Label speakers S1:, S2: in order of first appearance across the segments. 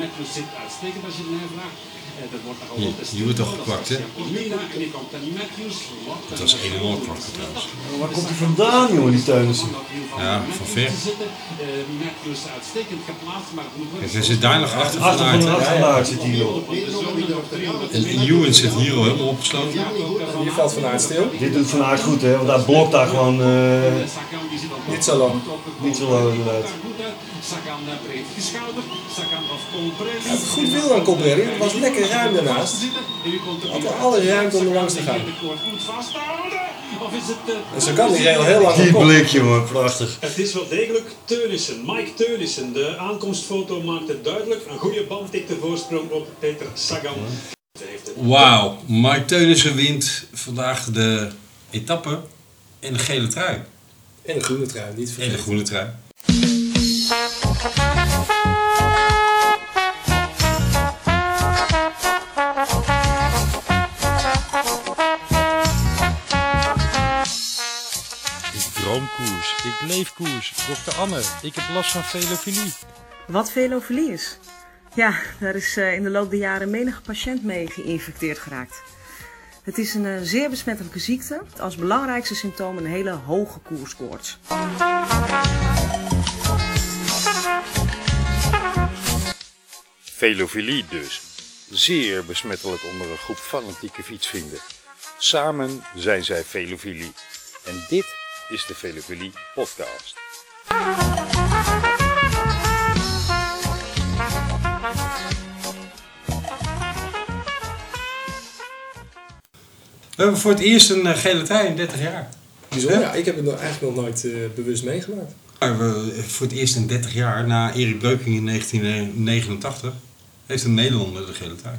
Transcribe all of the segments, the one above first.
S1: Matthews zit uitstekend als je het mij vraagt. Eh, dat wordt nogal
S2: Je-
S1: wat
S2: je wordt toch gekwakt, hè?
S1: Mina en hier komt Danny Matthews. Wat
S2: Dat was een enorm kwart trouwens.
S3: Waar komt hij vandaan, jongen, die Teunissen?
S2: Ja, van ver.
S1: Matthews Eh, uitstekend geplaatst, maar het moet wel-
S2: Kijk, hij zit daar nog achter
S3: Achter van de
S2: vanuit.
S3: achterlaag zit hier op.
S2: En en Ewan zit hier al helemaal opgesloten.
S4: Hier valt Van Aert stil.
S3: Dit doet Van Aert goed, hè, want hij blokt daar gewoon... eh,
S1: Sagan die zit al
S4: Niet zo lang.
S3: Niet zo lang, inderdaad.
S1: Goed uit. Sagan eh, breed geschouderd. Sagan was Colbrelli.
S4: had goed wiel aan Colbrelli, er was lekker ruim daarnaast. Had wel alle ruimte om er langs te gaan.
S1: Of is het... eh,
S4: En zo Dus kan die al heel lang op
S3: Die
S4: kop.
S3: blik, jongen, prachtig.
S5: Het is wel degelijk Teunissen, Mike Teunissen. De aankomstfoto maakt het duidelijk. Een goede band tikt de voorsprong op Peter Sagan. Hij heeft het
S2: Wauw, Mike Teunissen wint vandaag de etappe in de gele trui.
S4: En de groene trui, niet
S2: In de
S4: vergeten.
S2: groene trui.
S6: Ik droom koers, ik leef koers. Dokter Anne, ik heb last van velofilie.
S7: Wat velofilie is? Ja, daar is eh, in de loop der jaren menige patiënt mee geïnfecteerd geraakt. Het is een eh, zeer besmettelijke ziekte. met Als belangrijkste symptoom een hele hoge koerskoorts.
S8: Velofilie dus. Zeer besmettelijk onder een groep fanatieke fietsvrienden. Samen zijn zij Velofilie. En dit is de Velofilie podcast.
S2: We hebben voor het eerst een eh, gele trui in 30 jaar.
S4: Bijzonder, ja, ik heb het nog- eigenlijk nog nooit eh, bewust meegemaakt.
S2: Maar we- eh, Voor het eerst in 30 jaar, na Erik Breuking in 1989, heeft een Nederlander de gele trui.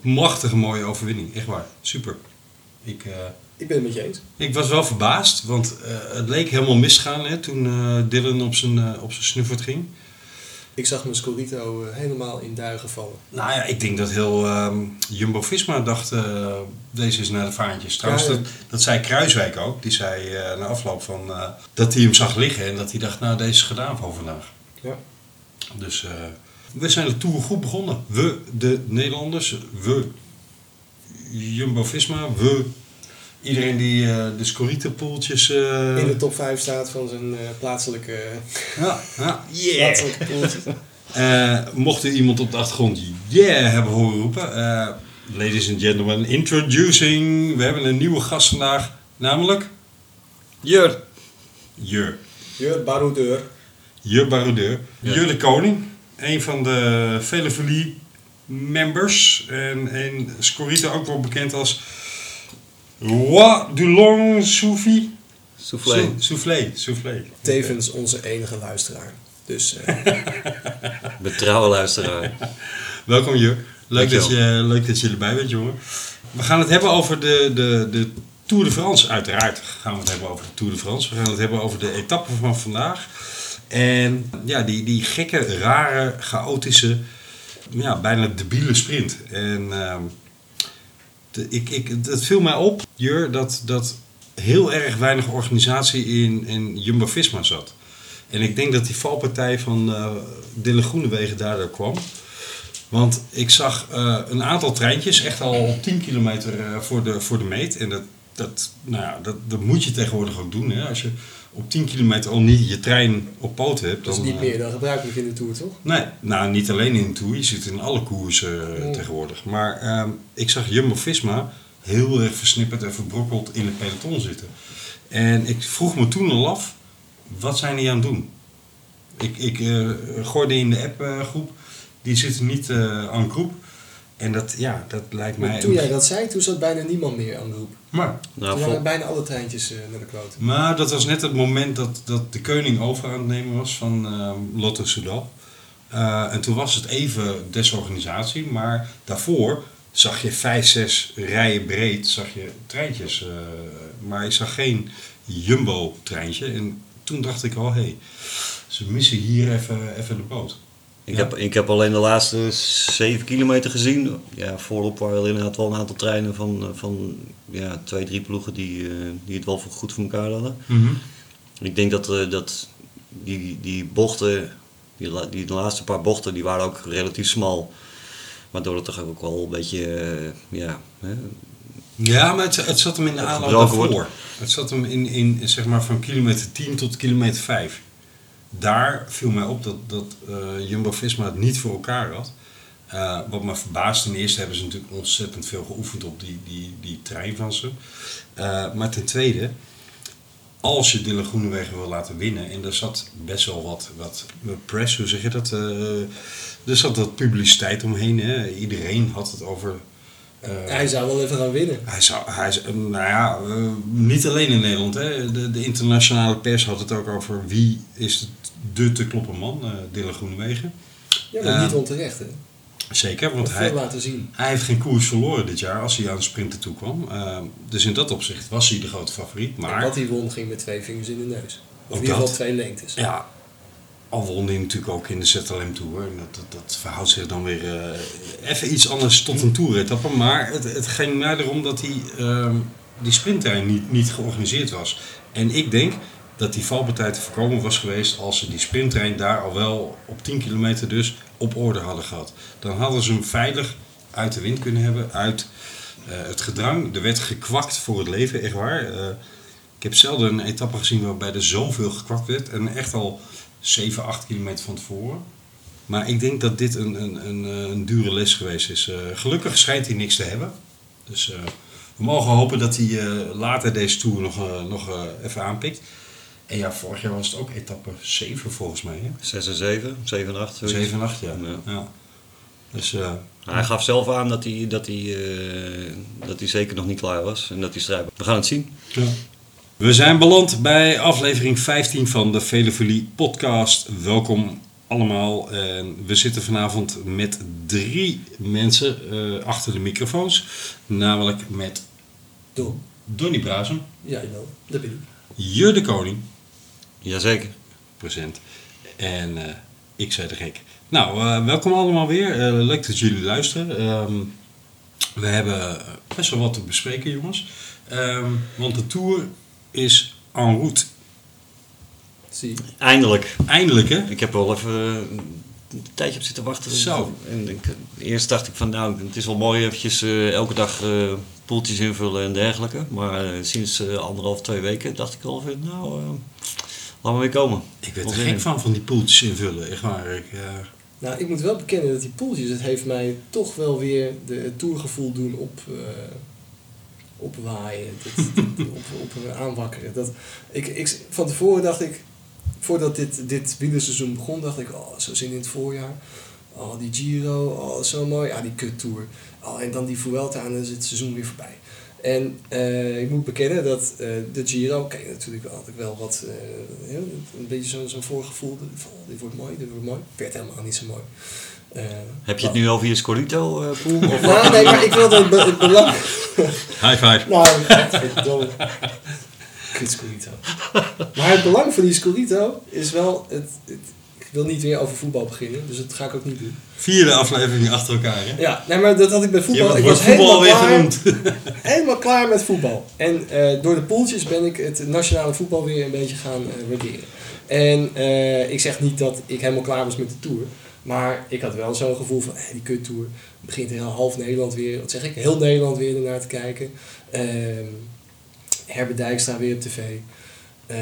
S2: Machtige mooie overwinning, echt waar. Super. Ik, eh,
S4: Ik ben het met je eens.
S2: ik was wel verbaasd, want eh, het leek helemaal misgaan hè, toen eh, Dylan op zijn, eh, op zijn snuffert ging.
S4: Ik zag mijn Scorito eh, helemaal in duigen vallen.
S2: Nou ja, ik denk dat heel ehm, Jumbo-Visma dacht, eh, deze is naar de vaantjes. Trouwens,
S4: Ja, ja.
S2: Dat, dat zei Kruiswijk ook. Die zei eh, na afloop van, eh, dat hij hem zag liggen en dat hij dacht, nou deze is gedaan voor vandaag.
S4: Ja.
S2: Dus eh, we zijn de Tour goed begonnen. We, de Nederlanders, we, Jumbo-Visma, we, iedereen die eh, de scorietenpoeltjes... eh,
S4: In de top 5 staat van zijn eh, plaatselijke,
S2: ja, ja, yeah.
S4: plaatselijke poeltje.
S2: Eh, mocht er iemand op de achtergrond yeah hebben horen roepen. eh, ladies and gentlemen, introducing. We hebben een nieuwe gast vandaag, namelijk Jur. Jur.
S4: Jur Baroudeur.
S2: Jur Baroudeur. Jur de Koning. Een van de vele verlie members. En, en Scorita ook wel bekend als Roi du Long Souffle.
S9: Soufflé.
S2: Sou- Soufflé. Soufflé.
S4: Tevens onze enige luisteraar. Dus eh,
S9: Betrouwe luisteraar.
S2: Welkom Jur. Leuk dat,
S9: Dankjewel.
S2: je, leuk dat je erbij bent, jongen. We gaan het hebben over de, de, de Tour de France. Uiteraard gaan we het hebben over de Tour de France. We gaan het hebben over de etappe van vandaag. En ja, die, die gekke, rare, chaotische, ja, bijna debiele sprint. En ehm, de- ik, ik, dat viel mij op, Jur, dat, dat heel erg weinig organisatie in, in Jumbo-Visma zat. En ik denk dat die valpartij van eh Dille Groenewegen daardoor kwam. Want ik zag eh, een aantal treintjes, echt al 10 kilometer eh, voor, de, voor de meet. En dat, dat, nou ja, dat, dat moet je tegenwoordig ook doen. Hè? Als je op 10 kilometer al niet je trein op poot hebt.
S4: dat is
S2: dan,
S4: niet
S2: eh,
S4: meer dan gebruikelijk in de Tour, toch?
S2: Nee, nou niet alleen in de Tour, je zit in alle koersen eh,
S4: Ja.
S2: tegenwoordig. Maar ehm, ik zag Jumbo-Visma heel erg versnipperd en verbrokkeld in het peloton zitten. En ik vroeg me toen al af, wat zijn die aan het doen? Ik, ik eh, gooide in de appgroep, die zitten niet eh, aan groep. En dat, ja, dat lijkt mij...
S4: Maar toen jij dat zei, toen zat bijna niemand meer aan de roep.
S2: Maar,
S9: Nou,
S4: Toen
S9: vol-
S4: waren bijna alle treintjes eh, naar de klote.
S2: maar dat was net het moment dat, dat de koning over aan het nemen was van ehm, Lotto Soudal. Eh, en toen was het even desorganisatie, maar daarvoor zag je vijf, zes rijen breed zag je treintjes. eh, maar ik zag geen jumbo-treintje. En toen dacht ik al, hé, hey, ze missen hier even, even de boot.
S9: ik, heb, ik heb alleen de laatste 7 kilometer gezien. Ja, voorop waren er inderdaad wel een aantal treinen van, eh, van ja, twee, drie ploegen die, eh, die het wel voor- goed voor elkaar hadden. Ik denk dat, eh, dat die, die bochten Die, la- die, de laatste paar bochten die waren ook relatief smal. Waardoor het toch ook wel een beetje, eh, ja, hè,
S2: Ja, maar het, het zat hem in de
S9: Dat
S2: aanloop
S9: gebroken
S2: daarvoor. Het zat hem in, in, zeg maar van kilometer 10 tot kilometer 5. Daar viel mij op dat, dat eh, Jumbo-Visma het niet voor elkaar had. Eh, wat me verbaast, ten eerste hebben ze natuurlijk ontzettend veel geoefend op die, die, die trein van ze. Eh, maar ten tweede, als je Dylan Groenewegen wil laten winnen, en er zat best wel wat, wat press, hoe zeg je dat? eh, er zat wat publiciteit omheen. Hè? Iedereen had het over eh,
S4: Hij zou wel even gaan winnen.
S2: hij zou, hij zou- nou ja, eh, niet alleen in Nederland. Hè. De, de internationale pers had het ook over wie is het, de te kloppen man, eh Dylan Groenewegen.
S4: Ja, maar
S2: Ja.
S4: niet onterecht, hè.
S2: Zeker, want
S4: Want
S2: hij,
S4: veel laten zien.
S2: hij heeft geen koers verloren dit jaar als hij aan de sprinten toe kwam. Eh, dus in dat opzicht was hij de grote favoriet.
S4: Maar
S2: Maar
S4: wat hij won ging met twee vingers in de neus.
S2: Ook
S4: Of in ieder geval
S2: dat.
S4: twee lengtes.
S2: ja, al won hij natuurlijk ook in de ZLM Tour. En dat, dat, dat verhoudt zich dan weer eh, even iets anders tot een toeretappe. Maar het, het ging mij erom dat die, ehm die sprinttrein niet, niet georganiseerd was. En ik denk dat die valpartij te voorkomen was geweest als ze die sprinttrein daar al wel op 10 kilometer dus op orde hadden gehad. Dan hadden ze hem veilig uit de wind kunnen hebben, uit eh, het gedrang. Er werd gekwakt voor het leven, echt waar. Eh, ik heb zelden een etappe gezien waarbij er zoveel gekwakt werd. En echt al 7, 8 kilometer van tevoren. Maar ik denk dat dit een, een, een, eh, een dure les geweest is. Eh, gelukkig schijnt hij niks te hebben. Dus eh, we mogen hopen dat hij eh, later deze Tour nog, eh, nog eh, even aanpikt. En ja, vorig jaar was het ook etappe 7 volgens mij. Hè?
S9: 6 en 7, 7 en 8.
S2: 7 en 8, ja.
S9: Ja.
S2: ja. Dus eh,
S9: Hij gaf zelf aan dat hij, dat, hij, eh, dat hij zeker nog niet klaar was en dat hij strijd. We gaan het zien.
S2: Ja. We zijn beland bij aflevering 15 van de Velofilie podcast. Welkom allemaal. En we zitten vanavond met drie mensen eh, achter de microfoons. Namelijk met
S4: Dom.
S2: Donny Brazen,
S4: Ja, nou, dat ben ik.
S2: Jur de Koning,
S9: Jazeker.
S2: present. En eh, ik zei de gek. Nou, eh, welkom allemaal weer. Eh, leuk dat jullie luisteren. Ehm, we hebben best wel wat te bespreken, jongens. Ehm, want de tour is en route.
S4: Zie.
S9: Eindelijk.
S2: Eindelijk, hè?
S9: Ik heb er al even eh, een tijdje op zitten wachten.
S2: Zo.
S9: En ik, eh, eerst dacht ik van nou, het is wel mooi eventjes eh, elke dag eh, poeltjes invullen en dergelijke. Maar eh, sinds eh, anderhalf, twee weken dacht ik al van nou, eh, laat maar weer komen.
S2: Ik werd
S9: Wel
S2: er
S9: zin
S2: gek
S9: in.
S2: van, van die poeltjes invullen. Echt waar. Ik, eh,
S4: Nou, ik moet wel bekennen dat die poeltjes, het heeft mij toch wel weer de, het toergevoel doen op, eh, opwaaien, dat, dat- op, op eh, aanwakkeren. Dat, ik, ik, van tevoren dacht ik, voordat dit, dit wielerseizoen begon, dacht ik, oh, zo zin in het voorjaar. Oh, die Giro, oh, zo mooi. Ja, die kuttour. Oh, en dan die Vuelta en dan is het seizoen weer voorbij. En eh, ik moet bekennen dat eh, de Giro, kijk natuurlijk wel, had ik wel wat, eh, heel- een beetje zo- zo'n voorgevoel. Van, oh, dit wordt mooi, dit wordt mooi. Werd helemaal niet zo mooi. Eh,
S9: Heb je het nu over je Scorito eh, pool? Of-
S4: nou, nee, maar ik wilde het, be- het belang...
S2: High five.
S4: Nou, verdomme. Kut Scorito. Maar het belang van die Scorito is wel... Het, het- ik wil niet weer over voetbal beginnen, dus dat ga ik ook niet doen.
S2: Vierde aflevering achter elkaar, hè?
S4: Ja, nee, maar dat had ik bij
S2: Je
S4: voetbal.
S2: wordt
S4: Oh,
S2: wordt
S4: Ik was
S2: voetbal
S4: helemaal
S2: weer
S4: klaar,
S2: genoemd.
S4: helemaal klaar met voetbal. En eh, door de poeltjes ben ik het nationale voetbal weer een beetje gaan eh, waarderen. En eh, ik zeg niet dat ik helemaal klaar was met de Tour. Maar ik had wel zo'n gevoel van, eh, die kut Tour. Begint heel half Nederland weer, wat zeg ik, heel Nederland weer ernaar te kijken. Ehm Herbert Dijkstra weer op tv. Eh,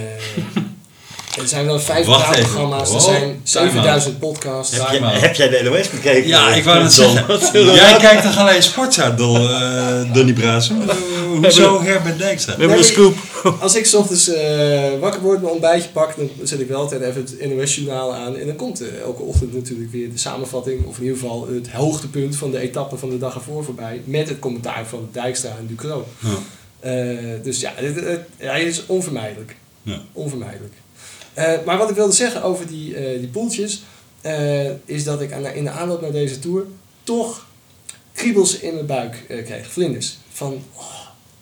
S4: er zijn wel 50
S2: Wacht even.
S4: programma's, er
S2: Wow,
S4: zijn
S2: time out.
S4: 7000 podcasts.
S2: Heb jij-
S3: Heb jij de NOS bekeken?
S2: Ja, ik wou het
S3: Tom?
S2: zeggen. Jij kijkt toch alleen sportzaal, eh Donny Brazen? Eh, Hoezo Herbert Dijkstra?
S9: We hebben een
S4: Nee,
S9: scoop.
S4: Als ik 's ochtends eh, wakker word, mijn ontbijtje pak, dan zet ik wel altijd even het NOS-journaal aan. En dan komt eh, elke ochtend natuurlijk weer de samenvatting, of in ieder geval het hoogtepunt van de etappe van de dag ervoor voorbij. Met het commentaar van Dijkstra en Ducro.
S2: Ja.
S4: Eh, dus ja, het, het- hij is onvermijdelijk.
S2: Ja.
S4: Onvermijdelijk. Eh, maar wat ik wilde zeggen over die, eh, die poeltjes, eh, is dat ik aan, in de aanloop naar deze tour toch kriebels in mijn buik eh, kreeg. Vlinders. Van, oh,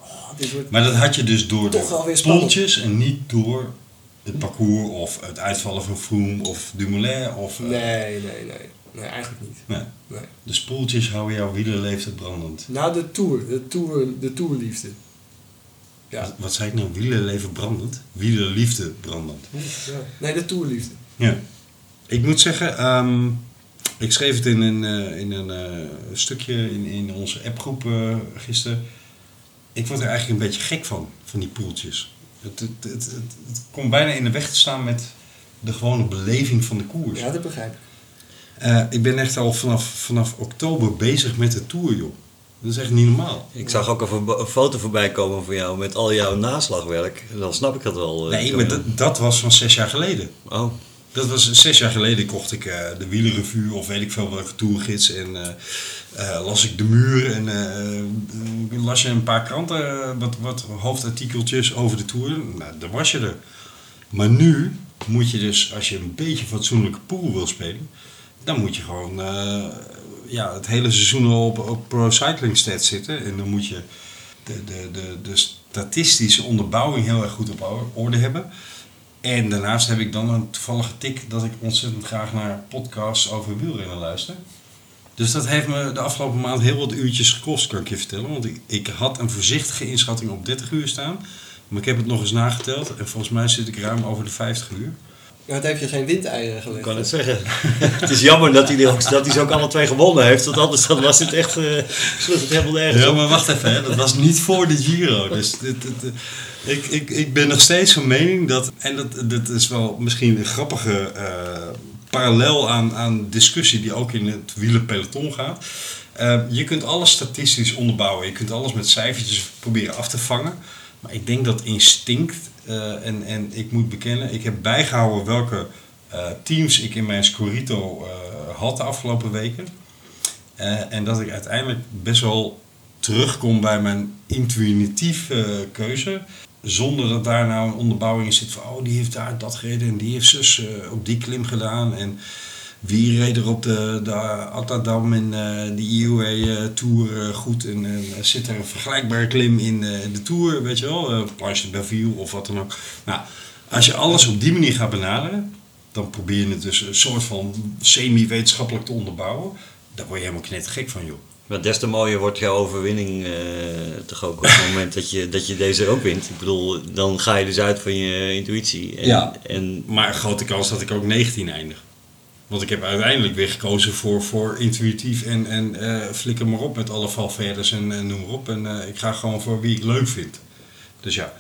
S4: oh, dit wordt
S2: Maar dat had je dus door
S4: Toch wel
S2: de
S4: weer spannend.
S2: poeltjes en niet door het parcours of het uitvallen van Froome of Dumoulin of... eh,
S4: Nee, nee, nee. Nee, eigenlijk niet.
S2: nee.
S4: Nee.
S2: Dus poeltjes houden jouw wielerleeftijd brandend.
S4: Na de tour, de tour, de tourliefde. Ja.
S2: Wat, wat zei ik nou? Wielerleven brandend? Wielerliefde brandend.
S4: Nee, de tourliefde.
S2: Ja. Ik moet zeggen, ehm, ik schreef het in een, eh, in een eh, stukje in, in onze appgroep eh, gisteren. Ik word er eigenlijk een beetje gek van, van die poeltjes. Het, het, het, het, het komt bijna in de weg te staan met de gewone beleving van de koers.
S4: Ja, dat begrijp ik.
S2: Eh, ik ben echt al vanaf, vanaf oktober bezig met de tour, joh. Dat is echt niet normaal.
S9: Ik zag ook een, vo- een foto voorbij komen van jou met al jouw naslagwerk. Dan snap ik dat wel. eh,
S2: Nee, maar dat, dat was van zes jaar geleden.
S9: Oh,
S2: Dat was zes jaar geleden kocht ik eh, de wielerrevue of weet ik veel welke tourgids. En eh, eh, las ik de muur en eh, eh, las je een paar kranten, eh, wat, wat hoofdartikeltjes over de tour. Nou, daar was je er. Maar nu moet je dus, als je een beetje fatsoenlijke pool wil spelen, dan moet je gewoon eh, ja, het hele seizoen al op, op pro cycling stats zitten. En dan moet je de, de, de, de statistische onderbouwing heel erg goed op orde hebben. En daarnaast heb ik dan een toevallige tik dat ik ontzettend graag naar podcasts over wielrennen luister. Dus dat heeft me de afgelopen maand heel wat uurtjes gekost, kan ik je vertellen. Want ik, ik had een voorzichtige inschatting op 30 uur staan. Maar ik heb het nog eens nageteld en volgens mij zit ik ruim over de 50 uur.
S4: Nou, daar heb je geen windeieren
S9: ik
S4: gelegd.
S9: kan het zeggen. het is jammer dat hij, die ook, dat hij ze ook alle twee gewonnen heeft. Want anders dan was het echt... eh sloeg het helemaal nergens
S2: Ja,
S9: op.
S2: maar wacht even, hè. dat was niet voor de Giro. Dus dit, dit, dit- ik, ik, ik ben nog steeds van mening dat, en dat, dat is wel misschien een grappige eh, parallel aan, aan discussie die ook in het wielerpeloton gaat. Eh, je kunt alles statistisch onderbouwen, je kunt alles met cijfertjes proberen af te vangen. Maar ik denk dat instinct, eh, en, en ik moet bekennen, ik heb bijgehouden welke eh, teams ik in mijn Scorito eh, had de afgelopen weken. Eh, en dat ik uiteindelijk best wel terugkom bij mijn intuïtieve eh, keuze. Zonder dat daar nou een onderbouwing in zit van... oh, die heeft daar dat gereden en die heeft zus eh, op die klim gedaan. En wie reed er op de, de Atadam in eh, de IUA-tour goed... en eh, zit er een vergelijkbare klim in eh, de tour, weet je wel? eh Planche de Belleville of wat dan ook. Nou, als je alles op die manier gaat benaderen... dan probeer je het dus een soort van semi-wetenschappelijk te onderbouwen. Daar word je helemaal knettergek van, joh.
S9: Maar des te mooier wordt jouw overwinning eh, toch ook op het moment dat je, dat je deze ook wint. Ik bedoel, dan ga je dus uit van je intuïtie. En,
S2: Ja.
S9: En
S2: Maar een grote kans dat ik ook 19 eindig. Want ik heb uiteindelijk weer gekozen voor, voor intuïtief en, en eh, flikker maar op met alle valverders en, en noem maar op. En eh, ik ga gewoon voor wie ik leuk vind. Dus ja,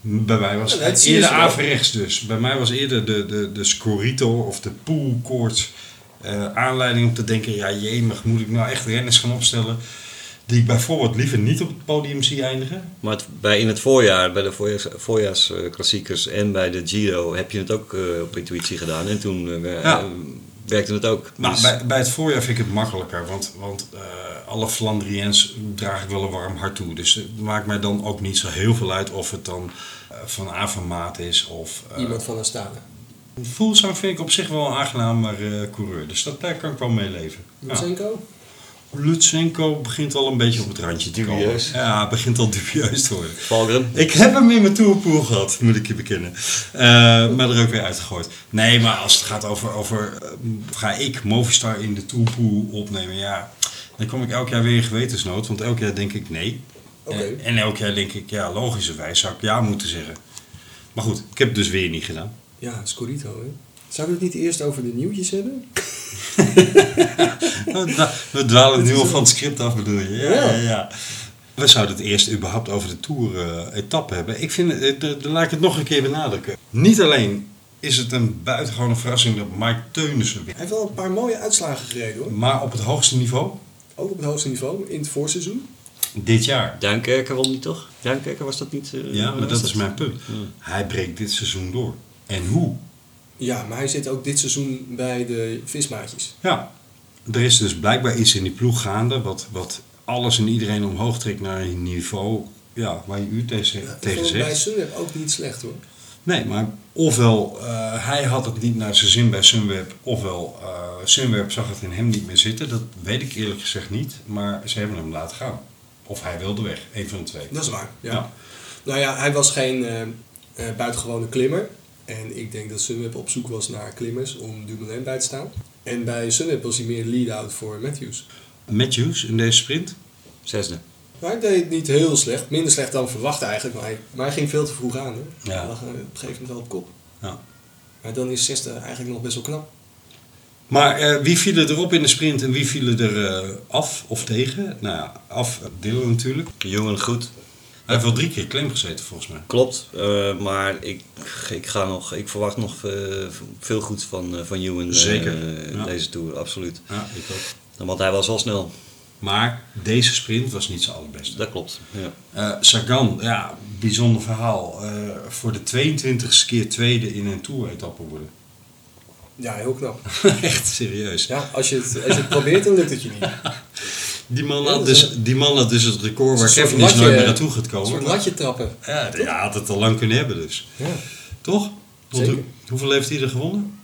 S2: m- bij mij was
S4: Ja, dat
S2: het
S4: zie je
S2: eerder
S4: zo.
S2: averechts dus. Bij mij was eerder de, de, de scorito of de poolkoorts eh, aanleiding om te denken... ja, jemig, moet ik nou echt renners gaan opstellen... die ik bijvoorbeeld liever niet op het podium zie eindigen?
S9: Maar het- bij, in het voorjaar, bij de voorjaars, voorjaarsklassiekers en bij de Giro, heb je het ook eh, op intuïtie gedaan. En toen eh, we-
S2: Ja.
S9: eh, werkte het ook.
S2: Maar
S9: Dus-
S2: Nou, bij, bij het voorjaar vind ik het makkelijker, want, want eh, alle Flandriëns draag ik wel een warm hart toe. Dus het maakt mij dan ook niet zo heel veel uit of het dan eh, van Avermaat is of... eh,
S4: Iemand van Astana.
S2: Voelsang vind ik op zich wel een aangenamer eh, coureur, dus dat, daar kan ik wel mee leven. Ja.
S4: Lutsenko?
S2: Lutsenko begint al een beetje op het randje te komen.
S3: Dubieus.
S2: Ja, begint al dubieus te worden.
S9: Valgren.
S2: Ik heb hem in mijn tourpool gehad, moet ik je bekennen. Eh, maar er ook weer uitgegooid. Nee, maar als het gaat over, over eh, ga ik Movistar in de tourpool opnemen, ja, dan kom ik elk jaar weer in gewetensnood. Want elk jaar denk ik nee.
S4: Oké.
S2: En, en elk jaar denk ik, ja, logischerwijs zou ik ja moeten zeggen. Maar goed, ik heb het dus weer niet gedaan.
S4: Ja, Scorito, hè. Zouden we het niet eerst over de nieuwtjes hebben?
S2: We dwa- We dwalen nu al van het script af, bedoel je? Ja, ja, ja. We zouden het eerst überhaupt over de Tour-etappe hebben. Ik vind, eh, de- de- laat ik het nog een keer benadrukken. Niet alleen is het een buitengewone verrassing dat Mike Teunissen wint,
S4: Hij heeft wel een paar mooie uitslagen gereden, hoor.
S2: maar op het hoogste niveau
S4: Ook op het hoogste niveau, in het voorseizoen.
S2: dit jaar.
S9: Duinkerker won niet toch? Duinkerker was dat niet? eh,
S2: Ja,
S9: was
S2: maar dat is mijn punt. Hij breekt dit seizoen door. En hoe?
S4: Ja, maar hij zit ook dit seizoen bij de vismaatjes.
S2: Ja, er is dus blijkbaar iets in die ploeg gaande wat, wat alles en iedereen omhoog trekt naar een niveau ja, waar je u tegen,
S4: Ja, ik
S2: tegen
S4: vond hem
S2: zegt.
S4: Bij Sunweb ook niet slecht, hoor.
S2: Nee, maar ofwel eh, hij had het niet naar zijn zin bij Sunweb, ofwel eh, Sunweb zag het in hem niet meer zitten. Dat weet ik eerlijk gezegd niet, maar ze hebben hem laten gaan. Of hij wilde weg, een van de twee.
S4: Dat is waar, ja.
S2: Ja.
S4: Nou ja, hij was geen eh, eh, buitengewone klimmer. En ik denk dat Sunweb op zoek was naar klimmers om Dumoulin bij te staan. En bij Sunweb was hij meer lead-out voor Matthews.
S2: Matthews in deze sprint.
S9: Zesde.
S4: Maar hij deed het niet heel slecht. Minder slecht dan verwacht eigenlijk. Maar hij, maar hij ging veel te vroeg aan. Hè?
S2: Ja.
S4: Hij lag eh, op een gegeven moment wel op kop.
S2: Ja.
S4: Maar dan is zesde eigenlijk nog best wel knap.
S2: Maar eh, wie vielen erop in de sprint en wie vielen er eh, af of tegen? Nou ja, af eh, Dylan natuurlijk.
S9: Jongen, goed.
S2: Hij heeft wel drie keer claim gezeten volgens mij.
S9: Klopt, eh, maar ik, ik, ga nog, ik verwacht nog eh, veel goeds van, eh, van Ewan eh,
S2: Zeker,
S9: in
S2: ja.
S9: deze Tour, absoluut.
S2: Ja, ik ook.
S9: Want hij was al snel,
S2: Maar deze sprint was niet zijn allerbeste.
S9: dat klopt. Ja.
S2: Eh, Sagan, ja, bijzonder verhaal. Eh, voor de 22ste keer tweede in een Tour-etappe worden.
S4: Ja, heel knap.
S2: Echt serieus.
S4: Ja, als je het, als je het probeert, dan lukt het je niet.
S2: Die, man
S4: Ja,
S2: had
S4: dat
S2: dus,
S4: is
S2: die man had dus het record waar
S4: Een soort
S2: Kevin is nooit
S4: latje-
S2: meer naartoe gaat
S4: Een soort
S2: komen.
S4: latje trappen.
S2: Ja, hij had het al lang kunnen hebben dus.
S4: Ja.
S2: Toch? Want
S4: Zeker.
S2: hoe- hoeveel heeft hij er gewonnen?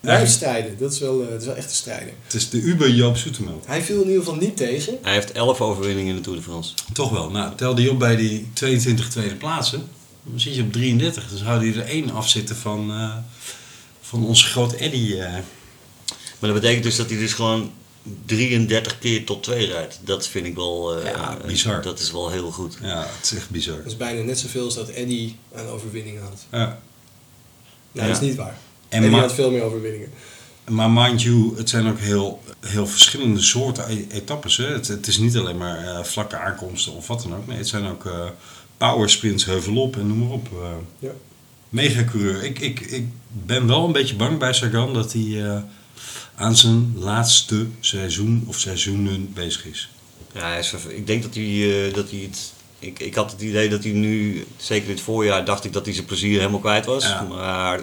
S4: Blijf strijden, dat is wel, eh, dat is wel echt te strijden.
S2: Het is de Uber Joop Zoetemelk.
S4: Hij viel in ieder geval niet tegen.
S9: Hij heeft 11 overwinningen in de Tour de France.
S2: Toch wel. Nou, tel die op bij die 22 tweede plaatsen. Dan zit je op 33. Dus houdt hij er één afzitten van, eh, van onze groot Eddy. eh.
S9: Maar dat betekent dus dat hij dus gewoon 33 keer tot 2 rijdt. Dat vind ik wel... eh,
S2: Ja,
S9: eh,
S2: bizar.
S9: Dat is wel heel goed.
S2: Ja, het is echt bizar.
S4: Dat is bijna net zoveel als dat Eddie aan overwinningen had.
S2: Ja.
S4: Nou,
S9: Ja.
S4: dat is niet waar.
S2: En
S4: Eddie
S2: Ma-
S4: had veel meer overwinningen.
S2: Maar mind you, het zijn ook heel, heel verschillende soorten e- etappes. Hè? Het, het is niet alleen maar eh, vlakke aankomsten of wat dan ook. Nee, het zijn ook eh power sprints, heuvelop en noem maar op. eh.
S4: Ja.
S2: Megacoureur. Ik, ik, ik ben wel een beetje bang bij Sagan dat hij eh, aan zijn laatste seizoen of seizoenen bezig is.
S9: Ja, hij is, verve- ik denk dat hij, eh, dat hij het... Ik, ik had het idee dat hij nu, zeker dit voorjaar, dacht ik dat hij zijn plezier helemaal kwijt was.
S2: Ja.
S9: Maar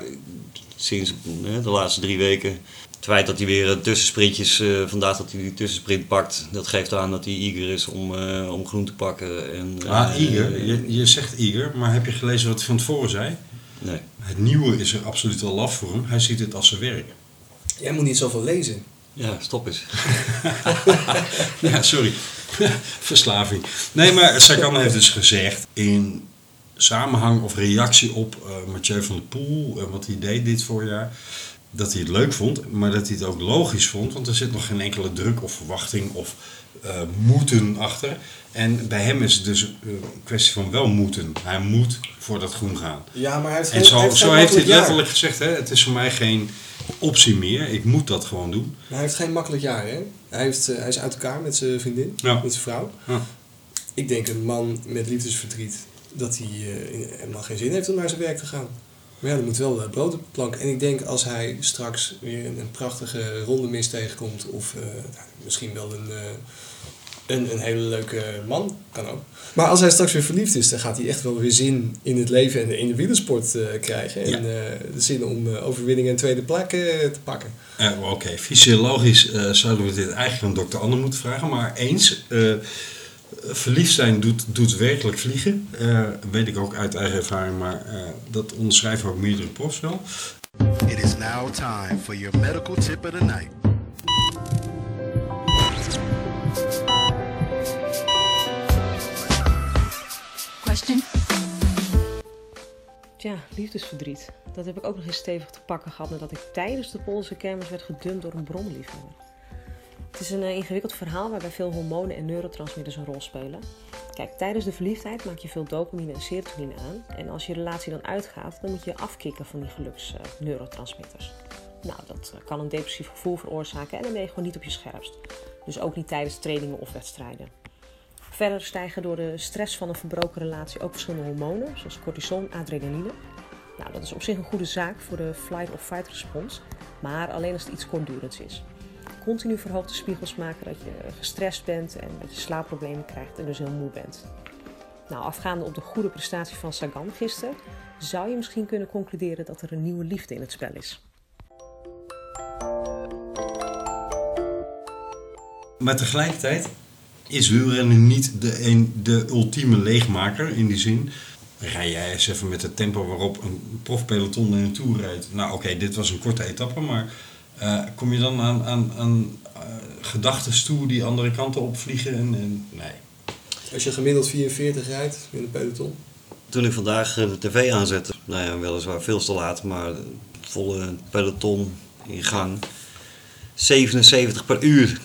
S9: sinds eh, de laatste drie weken, het feit dat hij weer eh, tussensprintjes, eh, vandaag dat hij die tussensprint pakt, dat geeft aan dat hij eager is om, eh, om groen te pakken. En,
S2: Ah,
S9: eh,
S2: Iger. Je, je zegt Iger, maar heb je gelezen wat hij van tevoren zei?
S9: Nee.
S2: Het nieuwe is er absoluut al af voor hem. Hij ziet het als zijn werk.
S4: Jij moet niet zoveel lezen.
S9: Ja, stop eens.
S2: ja, sorry. Verslaving. Nee, maar Sagan heeft dus gezegd in samenhang of reactie op eh, Mathieu van der Poel en wat hij deed dit voorjaar, dat hij het leuk vond, maar dat hij het ook logisch vond, want er zit nog geen enkele druk of verwachting of eh, moeten achter. En bij hem is het dus eh, een kwestie van wel moeten. Hij moet voor dat groen gaan.
S4: Ja, maar hij heeft
S2: En
S4: geen-
S2: zo,
S4: heeft geen
S2: zo heeft hij het
S4: makkelijk jaar.
S2: letterlijk gezegd, hè? het is voor mij geen optie meer, ik moet dat gewoon doen.
S4: Maar hij heeft geen makkelijk jaar, hè? Hij, heeft, eh, hij is uit elkaar met zijn vriendin,
S2: Ja.
S4: met zijn vrouw.
S2: Ja.
S4: Ik denk een man met liefdesverdriet dat hij eh, in- helemaal geen zin heeft om naar zijn werk te gaan. Maar ja, er moet wel eh, brood op de plank. En ik denk als hij straks weer een, een prachtige ronde mis tegenkomt, of eh, nou, misschien wel een, eh, een, een hele leuke man, kan ook. Maar als hij straks weer verliefd is, dan gaat hij echt wel weer zin in het leven en in de wielersport eh, krijgen. En eh, de zin om eh, overwinning en tweede plek eh, te pakken.
S2: Eh, Oké, fysiologisch eh, zouden we dit eigenlijk aan dokter Anne moeten vragen. Maar eens, eh, verliefd zijn doet, doet werkelijk vliegen. Eh, weet ik ook uit eigen ervaring, maar eh, dat onderschrijven ook meerdere profs wel.
S10: It is now time for your medical tip of the night.
S11: Question?
S7: Tja, liefdesverdriet. Dat heb ik ook nog eens stevig te pakken gehad nadat ik tijdens de Poolse kermis werd gedumpt door een bromliefhebber. Het is een eh, ingewikkeld verhaal waarbij veel hormonen en neurotransmitters een rol spelen. Kijk, tijdens de verliefdheid maak je veel dopamine en serotonine aan. En als je relatie dan uitgaat, dan moet je je afkicken van die geluksneurotransmitters. nou, dat eh, kan een depressief gevoel veroorzaken en dan ben je gewoon niet op je scherpst. Dus ook niet tijdens trainingen of wedstrijden. Verder stijgen door de stress van een verbroken relatie ook verschillende hormonen, zoals cortisol en adrenaline. Nou, dat is op zich een goede zaak voor de flight of fight respons, maar alleen als het iets kortdurends is. Continu verhoogde spiegels maken dat je gestrest bent en dat je slaapproblemen krijgt en dus heel moe bent. Nou, afgaande op de goede prestatie van Sagan gisteren, zou je misschien kunnen concluderen dat er een nieuwe liefde in het spel is.
S2: Maar tegelijkertijd is wielrennen niet de, een, de ultieme leegmaker in die zin. Rij jij eens even met het tempo waarop een profpeloton in een tour rijdt. Nou oké, dit was een korte etappe, maar eh, kom je dan aan, aan, aan eh, gedachtes toe die andere kanten opvliegen? En, en, nee.
S4: Als je gemiddeld 44 rijdt in een peloton.
S9: Toen ik vandaag eh, de tv aanzette, nou ja, weliswaar veel te laat, maar eh, volle peloton in gang. 77 per uur.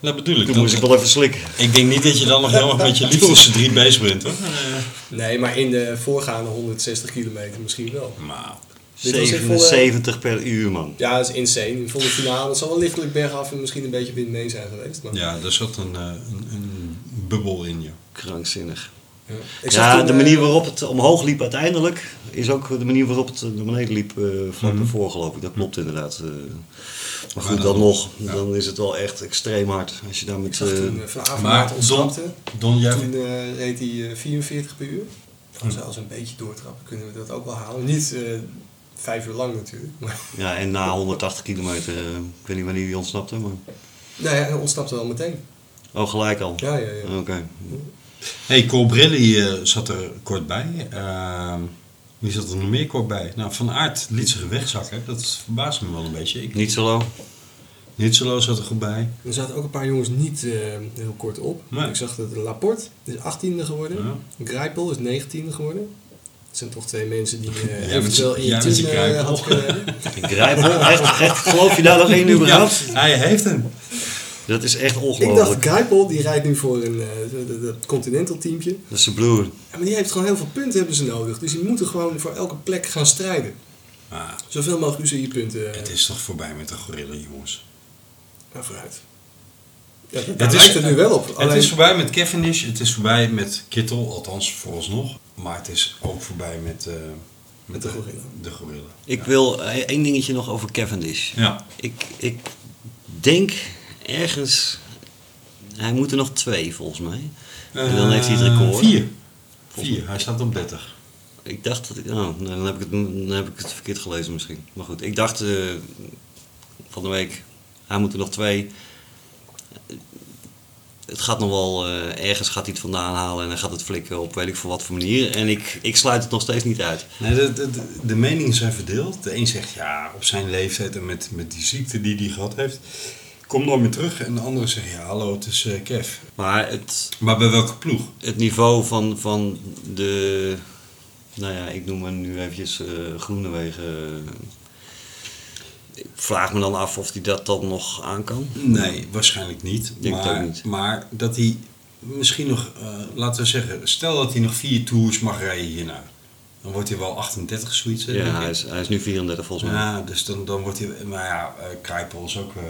S2: Dat bedoel ik.
S9: Toen moest ik wel even slikken.
S2: ik denk niet dat je dan nog heel erg met je liefdesverdriet bezig bent hoor.
S4: Nee, maar in de voorgaande 160 kilometer misschien wel.
S2: Maar
S4: Dit was echt volle-
S9: 77 per uur, man.
S4: Ja, dat is insane. In de volle finale. Het zal wel lichtelijk bergaf en misschien een beetje wind mee zijn geweest. Maar...
S2: Ja, er zat een, eh, een, een bubbel in je.
S9: Krankzinnig.
S4: Ja. Ik zag
S9: Ja,
S4: toen,
S9: de
S4: eh,
S9: manier waarop het omhoog liep uiteindelijk is ook de manier waarop het naar beneden liep eh, vlak
S4: Mhm.
S9: ervoor, geloof ik. Dat klopt inderdaad. eh. maar goed, dan nog. Dan is het wel echt extreem hard. Als je daar met...
S4: zag
S9: eh,
S4: toen eh, Van Avermaat ontsnapte.
S2: Don, jij-
S4: Toen eh, reed hij eh, 44 per uur. Dan
S9: Hm.
S4: zelfs een beetje doortrappen kunnen we dat ook wel halen. Niet eh, vijf uur lang natuurlijk. Maar,
S9: Ja, en na 180 kilometer, eh, ik weet niet wanneer die ontsnapte, maar...
S4: nou ja, hij ontsnapte wel meteen.
S9: Oh, gelijk al?
S4: Ja, ja, ja.
S9: Oké.
S2: hey, Colbrelli eh, zat er kort bij. Ehm, wie zat er nog meer kort bij? Nou, Van Aert liet zich wegzakken. Dat verbaast me wel een beetje. Ik...
S9: Nietzelo.
S2: Nietzelo zat er goed bij.
S4: Er zaten ook een paar jongens niet eh, heel kort op.
S2: Nee.
S4: Ik zag dat Laporte is 18e geworden. Grijpel is 19e geworden. Dat zijn toch twee mensen die eh,
S2: met
S4: eventueel
S2: z'n-
S4: in je
S2: jij met
S4: team
S2: z'n
S4: eh,
S2: Grijpel.
S4: had kunnen hebben.
S9: Grijpel, echt, echt, geloof je daar nog één überhaupt?
S2: Ja, hij heeft hem.
S9: Dat is echt
S4: Ik dacht,
S9: ongelooflijk.
S4: Grijpel die rijdt nu voor een, eh, dat- dat Continental teampje.
S9: Dat is zijn broer.
S4: Ja, maar die heeft gewoon heel veel punten hebben ze nodig. Dus die moeten gewoon voor elke plek gaan strijden.
S2: Maar
S4: Zoveel mogelijk UCI punten. eh,
S2: het is toch voorbij met de gorilla, jongens.
S4: Nou, vooruit. Ja, daar lijkt het nu wel op.
S2: Het
S4: Alleen-
S2: is voorbij met Cavendish, het is voorbij met Kittel, althans vooralsnog. Maar het is ook voorbij met, eh, met de, gorilla. De gorilla.
S9: Ik wil eh, één dingetje nog over Cavendish.
S2: Ja.
S9: Ik, ik denk ergens... Hij moet er nog twee, volgens mij. en dan heeft hij het record.
S2: Eh, vier. Vier, hij staat op 30.
S9: Ik dacht dat ik. Oh, nou, dan, heb ik het, dan heb ik het verkeerd gelezen misschien. Maar goed, ik dacht eh, van de week, hij moet er nog twee. Het gaat nog wel, eh, ergens gaat hij het vandaan halen en dan gaat het flikken op weet ik voor wat voor manier. En ik, ik sluit het nog steeds niet uit.
S2: Nee, de, de, de- de meningen zijn verdeeld. De een zegt ja, op zijn leeftijd en met, met die ziekte die hij gehad heeft, kom nooit meer terug. En de andere zegt ja, hallo, het is eh, Kev.
S9: Maar, het,
S2: maar bij welke ploeg?
S9: Het niveau van, van de, nou ja, ik noem hem nu eventjes eh Groenewegen. ik vraag me dan af of hij dat dan nog aan kan.
S2: Nee, waarschijnlijk niet.
S9: Ik denk het
S2: maar,
S9: ook niet.
S2: maar dat hij misschien nog, eh, laten we zeggen, stel dat hij nog vier tours mag rijden hierna. Dan wordt hij wel 38 zoiets. hè,
S9: Ja,
S2: denk ik.
S9: hij is, hij is nu 34 volgens mij.
S2: Ja, dus dan, dan wordt hij, maar ja, eh, Kruipel is ook eh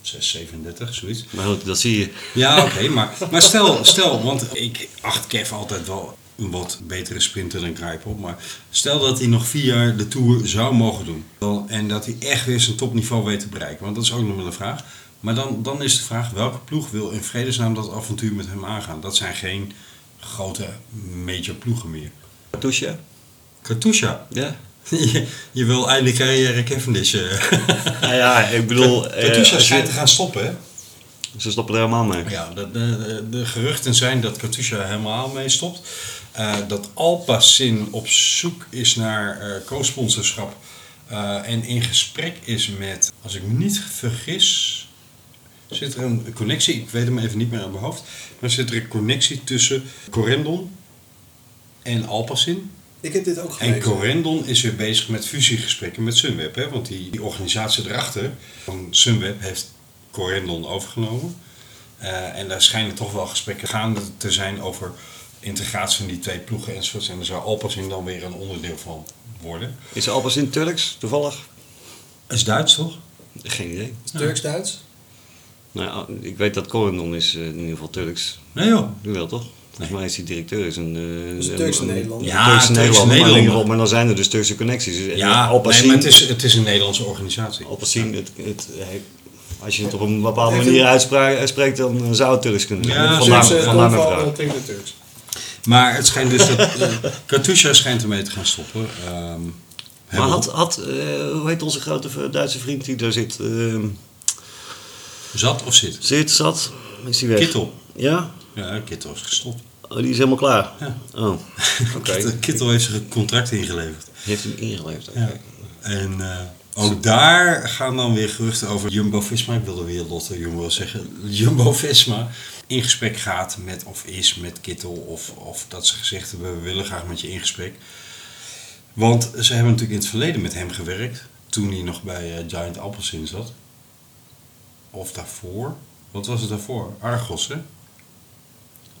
S2: 6, 37, zoiets.
S9: Maar goed, dat zie je.
S2: Ja, oké, maar, maar stel, stel, want ik acht Kev altijd wel een wat betere sprinter dan Kruipel. Maar stel dat hij nog vier jaar de Tour zou mogen doen. Dan- En dat hij echt weer zijn topniveau weet te bereiken. Want dat is ook nog wel een vraag. Maar dan, dan is de vraag, welke ploeg wil in vredesnaam dat avontuur met hem aangaan? Dat zijn geen grote major ploegen meer.
S9: Katusha?
S2: Katusha?
S9: Ja.
S2: Je, je wil eindelijk carrière Cavendish. eh.
S9: Nou ja, ik bedoel...
S2: Katusha
S9: eh, als
S2: schijnt
S9: je-
S2: te gaan stoppen, hè?
S9: Ze stoppen er helemaal mee.
S2: Ja, de, de, de- de geruchten zijn dat Katusha er helemaal mee stopt. Eh, dat Alpacin op zoek is naar eh, co-sponsorschap. eh, en in gesprek is met, als ik me niet vergis, zit er een connectie, ik weet hem even niet meer aan mijn hoofd. Maar zit er een connectie tussen Corendon en Alpacin.
S4: Ik heb dit ook gelezen.
S2: En Corendon is weer bezig met fusiegesprekken met Sunweb. Hè? Want die, die organisatie erachter van Sunweb heeft Corendon overgenomen. Eh, en daar schijnen toch wel gesprekken gaande te zijn over integratie van die twee ploegen enzovoorts. En daar zou Alpacin dan weer een onderdeel van worden.
S9: Is Alpacin Turks, toevallig?
S2: Is Duits toch?
S9: Geen idee.
S4: Is het Turks-Duits?
S9: Nou, ja, ik weet dat Corendon is eh, in ieder geval Turks.
S2: Nee joh.
S9: Nu wel toch? Volgens mij is die directeur is een... eh,
S4: Dus
S9: een-
S4: Turkse
S9: een-
S4: Nederlander.
S9: een
S2: Ja,
S9: Turkse
S2: Turkse
S9: Nederlander. Maar, in ieder
S2: Nederlander.
S9: geval, maar dan zijn er dus Turkse connecties. Dus, eh,
S2: Ja,
S9: Alpacin,
S2: nee, maar het is, het is een Nederlandse organisatie.
S9: Alpacin, het, het, hij- als je het op een bepaalde
S2: Heeft
S9: manier
S2: een-
S9: uitspra- uitspreekt, dan eh, zou het Turks kunnen zijn.
S2: Ja,
S9: vandaar,
S4: eh,
S2: Turkse
S9: vandaar mijn
S2: tongval.
S9: vraag.
S4: Dat klinkt het Turks.
S2: Maar het schijnt dus dat eh, Katusha schijnt ermee te gaan stoppen. Ehm,
S9: Maar
S2: Hemel.
S9: had, had eh, hoe heet onze grote v- Duitse vriend die daar zit? ehm,
S2: Zat of zit?
S9: Zit, zat. Is hij weg?
S2: Kittel.
S9: Ja?
S2: Ja, Kittel is gestopt.
S9: Oh, die is helemaal klaar?
S2: Ja.
S9: Oh, oké.
S2: Kittel, Kittel heeft zijn contract ingeleverd.
S9: Heeft hem ingeleverd, oké.
S2: En eh, ook daar gaan dan weer geruchten over Jumbo-Visma. Ik wilde weer Lotte Jumbo zeggen. Jumbo-Visma in gesprek gaat met of is met Kittel. Of, of dat ze gezegd hebben, we willen graag met je in gesprek. Want ze hebben natuurlijk in het verleden met hem gewerkt. Toen hij nog bij eh, Giant Appelsin zat. Of daarvoor. Wat was het daarvoor? Argos, hè?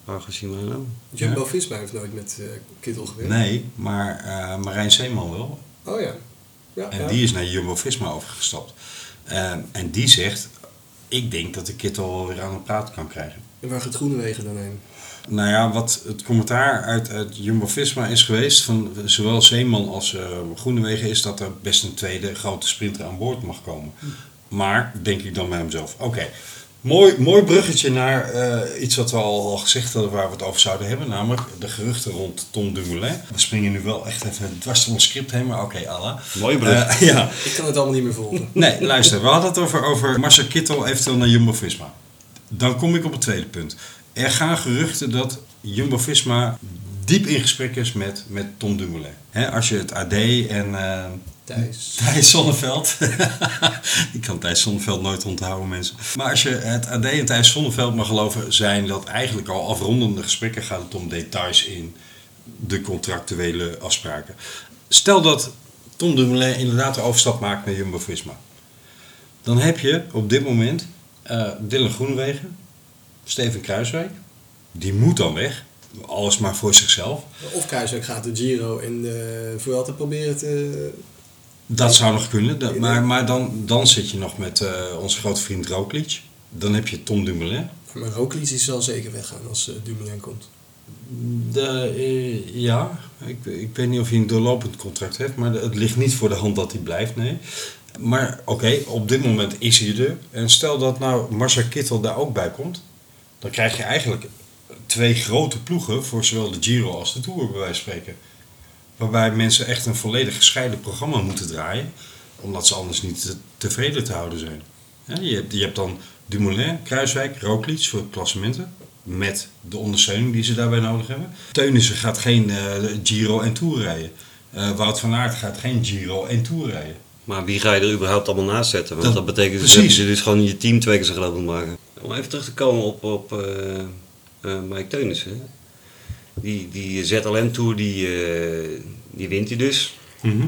S9: Argos Shimano?
S4: Jumbo-Visma heeft nooit met eh, Kittel gewerkt.
S2: Nee, maar eh, Marijn Zeeman wel.
S4: Oh ja. Ja,
S2: en
S4: ja.
S2: die is naar Jumbo-Visma overgestapt. Ehm, en die zegt, ik denk dat ik het al weer aan de praat kan krijgen.
S4: En waar gaat Groenewegen dan heen?
S2: Nou ja, wat het commentaar uit, uit Jumbo-Visma is geweest, van zowel Zeeman als eh, Groenewegen, is dat er best een tweede grote sprinter aan boord mag komen.
S4: Hm.
S2: Maar, denk ik dan bij hemzelf, oké. Mooi, mooi bruggetje naar eh, iets wat we al, al gezegd hadden waar we het over zouden hebben, namelijk de geruchten rond Tom Dumoulin. We springen nu wel echt even dwars door ons script heen, maar oké, Allah. Eh,
S4: Mooie brug.
S2: ja.
S4: Ik kan het allemaal niet meer volgen.
S2: Nee, luister, we hadden het over, over Marcel Kittel eventueel naar Jumbo-Visma. Dan kom ik op het tweede punt. Er gaan geruchten dat Jumbo-Visma diep in gesprek is met, met Tom Dumoulin. Hè, als je het AD en... eh
S4: Thijs.
S2: Thijs Zonneveld. Ik kan Thijs Zonneveld nooit onthouden, mensen. Maar als je het AD en Thijs Zonneveld mag geloven... zijn dat eigenlijk al afrondende gesprekken gaat het om details in de contractuele afspraken. Stel dat Tom Dumoulin inderdaad de overstap maakt naar Jumbo-Visma. Dan heb je op dit moment eh Dylan Groenewegen, Steven Kruiswijk. Die moet dan weg. Alles maar voor zichzelf.
S4: Of Kruiswijk gaat de Giro en de Vuelta proberen te...
S2: Dat zou nog kunnen, dat- maar, maar dan, dan zit je nog met eh, onze grote vriend Roglic. Dan heb je Tom Dumoulin.
S4: Maar Roglic die zal zeker weggaan als eh, Dumoulin komt.
S2: De, eh, ja, ik, ik weet niet of hij een doorlopend contract heeft, maar het ligt niet voor de hand dat hij blijft, nee. Maar oké, op dit moment is hij er. En stel dat nou Marcel Kittel daar ook bij komt, dan krijg je eigenlijk twee grote ploegen voor zowel de Giro als de Tour, bij wijze van spreken. Waarbij mensen echt een volledig gescheiden programma moeten draaien, omdat ze anders niet te- tevreden te houden zijn. Hè, je, hebt, je hebt dan Dumoulin, Kruiswijk, Roglic voor klassementen. Met de ondersteuning die ze daarbij nodig hebben. Teunissen gaat geen eh, Giro en Tour rijden. Eh, Wout van Aert gaat geen Giro en Tour rijden.
S9: Maar wie ga je er überhaupt allemaal naast zetten? Want
S2: Dat-
S9: dat, betekent dus
S2: precies.
S9: dat je dus gewoon je team twee keer zo groot moet maken. Om even terug te komen op, op eh, eh, Mike Teunissen. Die, die ZLM Tour, die, eh, die wint hij dus.
S2: Mhm.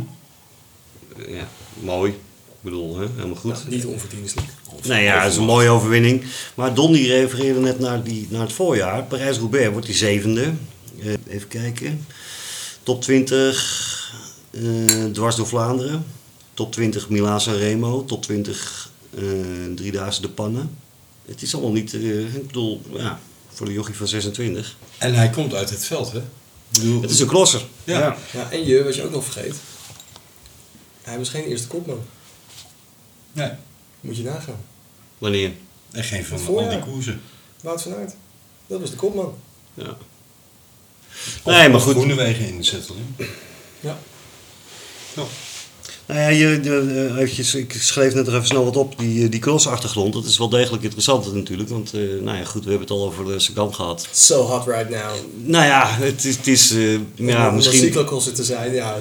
S9: Ja, mooi. Ik bedoel, hè, helemaal goed.
S4: Niet onverdienstelijk.
S9: Nou ja, het is een mooie overwinning. Maar Don die refereerde net naar, die, naar het voorjaar. Parijs-Roubaix wordt die zevende. Eh, even kijken. Top 20 eh, dwars door Vlaanderen. Top 20 Milaan San Remo. Top 20 eh, Driedaagse de Pannen. Het is allemaal niet... eh, ik bedoel, ja, voor de jochie van 26.
S2: En hij komt uit het veld, hè?
S9: Het is een klosser.
S2: Ja.
S4: Ja. en je, wat je ook nog vergeet. Hij was geen eerste kopman.
S2: Nee.
S4: Moet je nagaan.
S9: Wanneer?
S2: En geen van
S4: Voorjaar.
S2: al die koersen.
S4: Wout van Aert. Dat was de kopman.
S9: Ja. Nee, maar goed.
S2: Groenewegen in de zetel.
S4: Ja.
S9: Nou ja, je, de- eh, eventjes, ik schreef net er even snel wat op. Die, eh, die crossachtergrond, dat is wel degelijk interessant natuurlijk. Want eh, nou ja, goed, we hebben het al over eh, Sagan gehad.
S4: So hot right now.
S9: Nou ja, het is, het is eh, ja,
S4: Om een
S9: misschien,
S4: cyclocrosser te zijn, ja.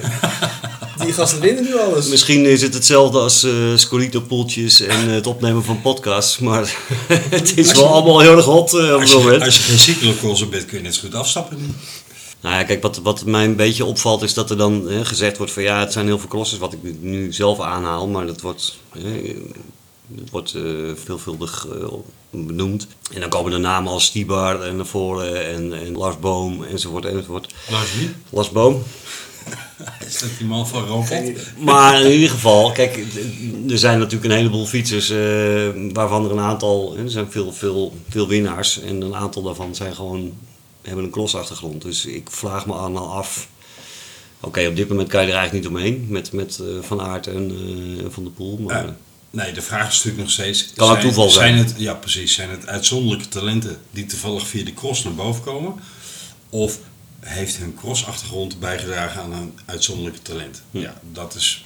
S4: Die gasten winnen nu alles.
S9: misschien is het hetzelfde als eh Scorito-poeltjes en eh, het opnemen van podcasts. Maar het is wel allemaal heel erg hot eh, op
S2: Als
S9: het
S2: je,
S9: moment.
S2: als je geen cyclocrosser bent, kun je net zo goed afstappen. nu.
S9: Nou ja, kijk, wat, wat mij een beetje opvalt is dat er dan hè, gezegd wordt van ja, het zijn heel veel crossers, wat ik nu- nu zelf aanhaal, maar dat wordt, hè, dat wordt eh, veelvuldig eh, benoemd. En dan komen de namen als Stibar en naar voren en, en Lars Boom enzovoort enzovoort.
S2: Lars wie?
S9: Lars Boom.
S2: Is dat die man van Robot?
S9: Maar in ieder geval, kijk, d- er zijn natuurlijk een heleboel fietsers, eh, waarvan er een aantal, hè, er zijn veel, veel, veel winnaars en een aantal daarvan zijn gewoon, hebben een crossachtergrond. Dus ik vraag me allemaal af, oké, op dit moment kan je er eigenlijk niet omheen met, met eh, Van Aert en eh, Van der Poel. Maar,
S2: Ja. Nee, de vraag is natuurlijk nog steeds...
S9: Kan het toeval zijn?
S2: het, ja, precies. Zijn het uitzonderlijke talenten die toevallig via de cross naar boven komen? Of heeft hun crossachtergrond bijgedragen aan een uitzonderlijke talent?
S9: Hm.
S2: Ja, dat is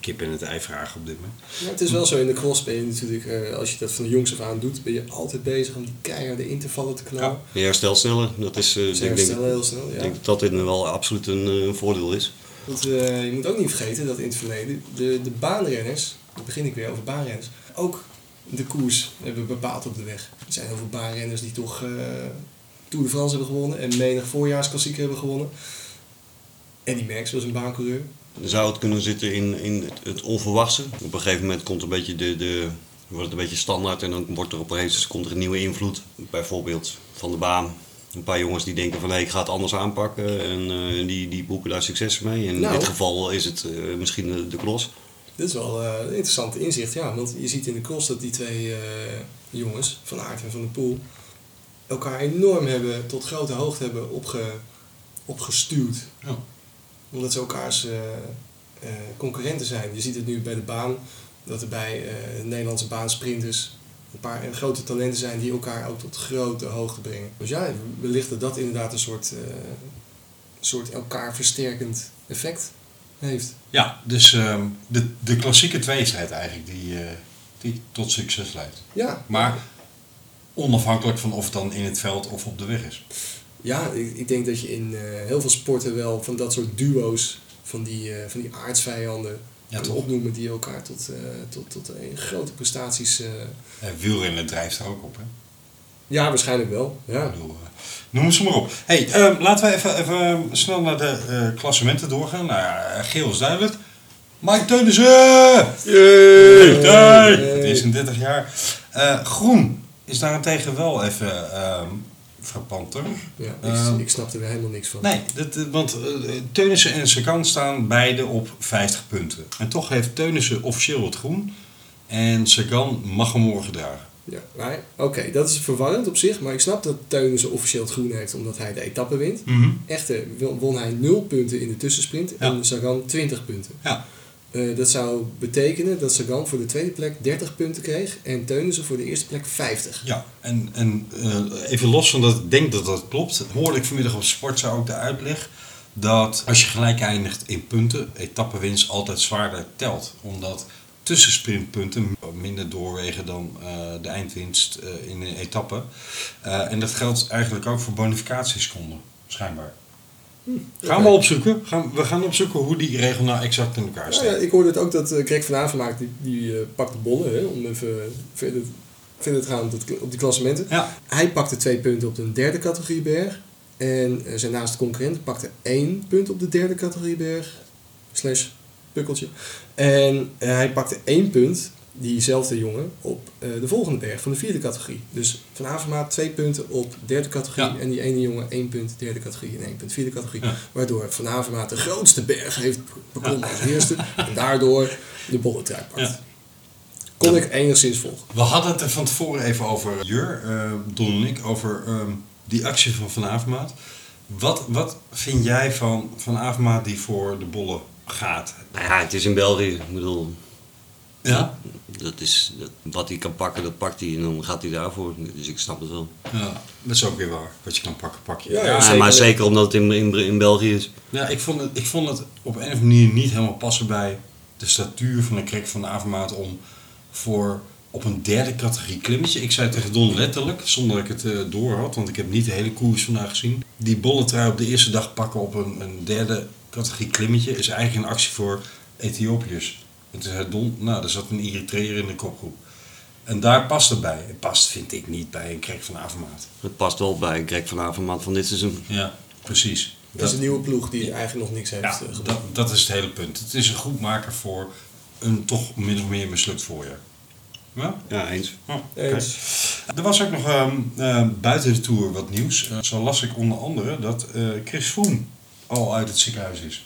S2: kip in het ei vraag op dit moment.
S4: Maar het is wel zo, in de cross ben je natuurlijk, eh, als je dat van de jongs af aan doet, ben je altijd bezig om die keiharde intervallen te knallen.
S9: Je herstelt sneller, dat is, eh,
S4: Ze
S9: ik denk,
S4: herstellen heel snel, ja.
S9: ik denk dat dat in wel absoluut een eh, voordeel is.
S4: Want eh, je moet ook niet vergeten dat in het verleden de, de baanrenners, dan begin ik weer over baanrenners, ook de koers hebben bepaald op de weg. Er zijn heel veel baanrenners die toch eh Tour de France hebben gewonnen en menig voorjaarsklassiek hebben gewonnen. Eddie Merckx was een baancoureur.
S9: Zou het kunnen zitten in, in het onverwachte? Op een gegeven moment komt een beetje de, de, wordt het een beetje standaard en dan wordt er opeens komt er een nieuwe invloed. Bijvoorbeeld van de baan Een paar jongens die denken van hé, ik ga het anders aanpakken en eh, die, die boeken daar succes mee. En
S4: Nou.
S9: in dit geval is het eh, misschien eh, de klos.
S4: Dit is wel eh, een interessant inzicht, ja. Want je ziet in de cross dat die twee eh, jongens, Van Aert en Van der Poel, elkaar enorm hebben, tot grote hoogte hebben opge, opgestuwd. Omdat ze elkaars eh, eh, concurrenten zijn. Je ziet het nu bij de baan, dat er bij eh, Nederlandse baansprinters een paar eh, grote talenten zijn die elkaar ook tot grote hoogte brengen. Dus ja, wellicht dat dat inderdaad een soort, eh, soort elkaar versterkend effect heeft.
S2: Ja, dus ehm, de, de klassieke tweestrijd eigenlijk die, eh, die tot succes leidt.
S4: Ja.
S2: Maar onafhankelijk van of het dan in het veld of op de weg is.
S4: Ja, ik, ik denk dat je in eh, heel veel sporten wel van dat soort duo's, van die, eh van die aardsvijanden,
S2: Ja,
S4: kan
S2: toch?
S4: opnoemen die elkaar tot, eh, tot, tot eh, grote prestaties. eh,
S2: En wielrennen drijft er ook op. Hè?
S4: ja, waarschijnlijk wel. Ja.
S2: eh, Noem ze maar op. Hey, ehm, laten we even, even snel naar de eh, klassementen doorgaan. Nou ja, geel is duidelijk. Mike Teunissen! Yay! Het is in 30 jaar. Eh, groen is daarentegen wel even ehm verpanter.
S4: Ja, ik,
S2: Ehm,
S4: ik snap er weer helemaal niks van.
S2: Nee, dat, eh, want eh, Teunissen en Sagan staan beide op 50 punten. En toch heeft Teunissen officieel het groen. En Sagan mag hem morgen dragen.
S4: Ja, maar oké, dat is verwarrend op zich, maar ik snap dat Teunissen officieel het groen heeft omdat hij de etappe wint.
S2: Mhm.
S4: Echter won- won hij 0 punten in de tussensprint en Sagan 20 punten.
S2: Ja.
S4: Eh, dat zou betekenen dat Sagan voor de tweede plek 30 punten kreeg en Teunissen voor de eerste plek 50.
S2: Ja, en, en eh, even los van dat ik denk dat dat klopt, hoorde ik vanmiddag op Sportza ook de uitleg dat als je gelijk eindigt in punten, etappenwinst altijd zwaarder telt. Omdat tussensprintpunten minder doorwegen dan eh, de eindwinst eh, in een etappe. Eh, en dat geldt eigenlijk ook voor bonificatieseconden, schijnbaar. Gaan we opzoeken? Gaan, we gaan opzoeken hoe die regel nou exact in elkaar
S4: Ja,
S2: staat.
S4: ja, ik hoorde het ook dat eh, Greg van Avermaak, die, die eh, pakt de bollen, hè, om even verder, verder te gaan op, dat- op die klassementen. Hij pakte twee punten op de derde categorie berg. En eh, zijn naaste concurrent pakte één punt op de derde categorie berg. Slash pukkeltje. En eh, hij pakte één punt, diezelfde jongen, op eh, de volgende berg van de vierde categorie. Dus van Avermaat twee punten op derde categorie. En die ene jongen één punt derde categorie en één punt vierde categorie. Waardoor van Avermaat de grootste berg heeft beklommen als eerste. En daardoor de bolletrui pakt. Kon ik enigszins volgen.
S2: We hadden het er van tevoren even over Jur, eh, Don en ik, over ehm, die actie van Van Avermaat. Wat, wat vind jij van Van Avermaat die voor de bollen gaat?
S9: Nou ja, het is in België. Ik bedoel,
S2: Ja?
S9: dat is, dat, wat hij kan pakken, dat pakt hij en dan gaat hij daarvoor. Dus ik snap het wel.
S2: Ja, dat is ook weer waar. Wat je kan pakken, pak je.
S9: Ja, maar zeker omdat het in, in, in België is.
S2: Ja, ik, vond het, ik vond het op een of andere manier niet helemaal passen bij de statuur van de krek van Avermaat om voor op een derde categorie klimmetje. Ik zei tegen Don letterlijk, zonder dat ik het eh, door had, want ik heb niet de hele koers vandaag gezien. Die bolletrui op de eerste dag pakken op een, een derde categorie klimmetje is eigenlijk een actie voor Ethiopiërs. En toen zei Don, nou, er zat een Eritreër in de kopgroep. En daar past het bij. Het past, vind ik, niet bij een krek van Avermaat.
S9: Het past wel bij Greg van Avermaat van dit seizoen.
S2: Ja, precies.
S4: Dat is een nieuwe ploeg die eigenlijk nog niks heeft. eh, gedaan.
S2: Dat, dat is het hele punt. Het is een goedmaker voor een toch min of meer mislukt voorjaar. Ja?
S9: Ja, eens.
S2: Oh, oké. Er was ook nog ehm, eh, buiten de Tour wat nieuws. Eh, zo las ik onder andere dat eh, Chris Froome al uit het ziekenhuis is.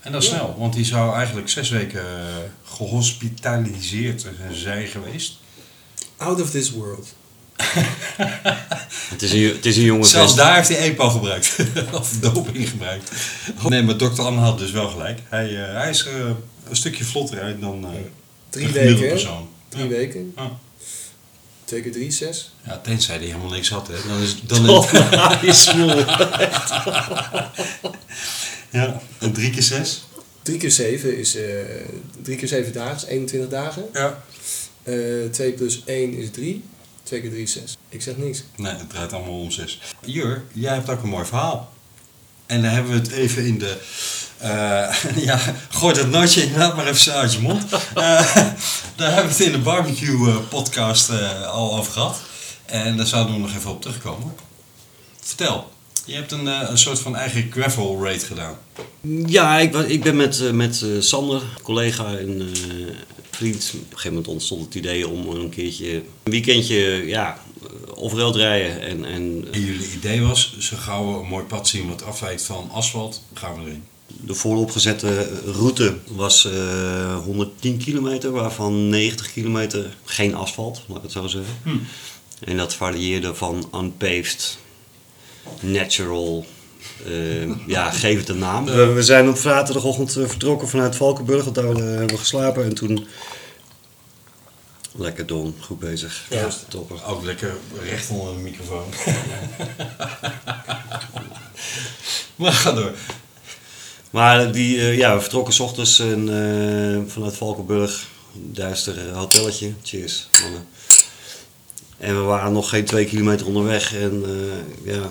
S2: En dat
S4: Ja.
S2: snel, want die zou eigenlijk zes weken eh, gehospitaliseerd zijn geweest.
S4: Out of this world.
S9: Het is een, het is een jonge
S2: Zelfs
S9: vent.
S2: daar heeft hij EPO gebruikt. of doping gebruikt. Nee, maar dokter Anne had dus wel gelijk. Hij, eh, hij is eh, een stukje vlotter uit dan eh
S4: Drie
S2: een gemiddelde
S4: weken, hè?
S2: persoon.
S4: Drie weken.
S2: Ja.
S4: Twee keer drie, zes.
S2: Ja, tenzij hij helemaal niks had. Hè. Dan is, dan is
S4: Hij smoel.
S2: ja, en drie keer zes.
S4: Drie keer zeven is eh drie keer zeven dagen, is 21 dagen.
S2: Ja.
S4: Eh, twee plus één is drie. Twee keer drie is zes. Ik zeg niks.
S2: Nee, het draait allemaal om zes. Jur, jij hebt ook een mooi verhaal. En daar hebben we het even in de... eh, ja, gooi dat nootje inderdaad maar even snel uit je mond. Eh, daar hebben we het in de barbecue-podcast eh, al over gehad. En daar zouden we nog even op terugkomen. Vertel, je hebt een, eh, een soort van eigen gravel raid gedaan.
S9: Ja, ik, was, ik ben met, eh, met eh, Sander, collega en eh, vriend. Op een gegeven moment ontstond het idee om een keertje een weekendje ja, offroad rijden. En, en,
S2: en jullie idee was, zo gauw we een mooi pad zien wat afwijkt van asfalt, gaan we erin.
S9: De vooropgezette route was eh, 110 kilometer, waarvan 90 kilometer geen asfalt, laat ik het zo zeggen.
S2: Hm.
S9: En dat varieerde van unpaved, natural, eh, ja, geef het een naam. We, Eh, we zijn op zaterdagochtend eh, vertrokken vanuit Valkenburg, want daar eh, hebben we geslapen. En toen, lekker Don, goed bezig.
S2: Ja.
S9: Juist de topper.
S2: Ook lekker recht onder de microfoon. maar ga door.
S9: Maar die, eh, ja, we vertrokken 's ochtends en, eh, vanuit Valkenburg. Duister eh, hotelletje. Cheers, mannen. En we waren nog geen twee kilometer onderweg. En eh, ja,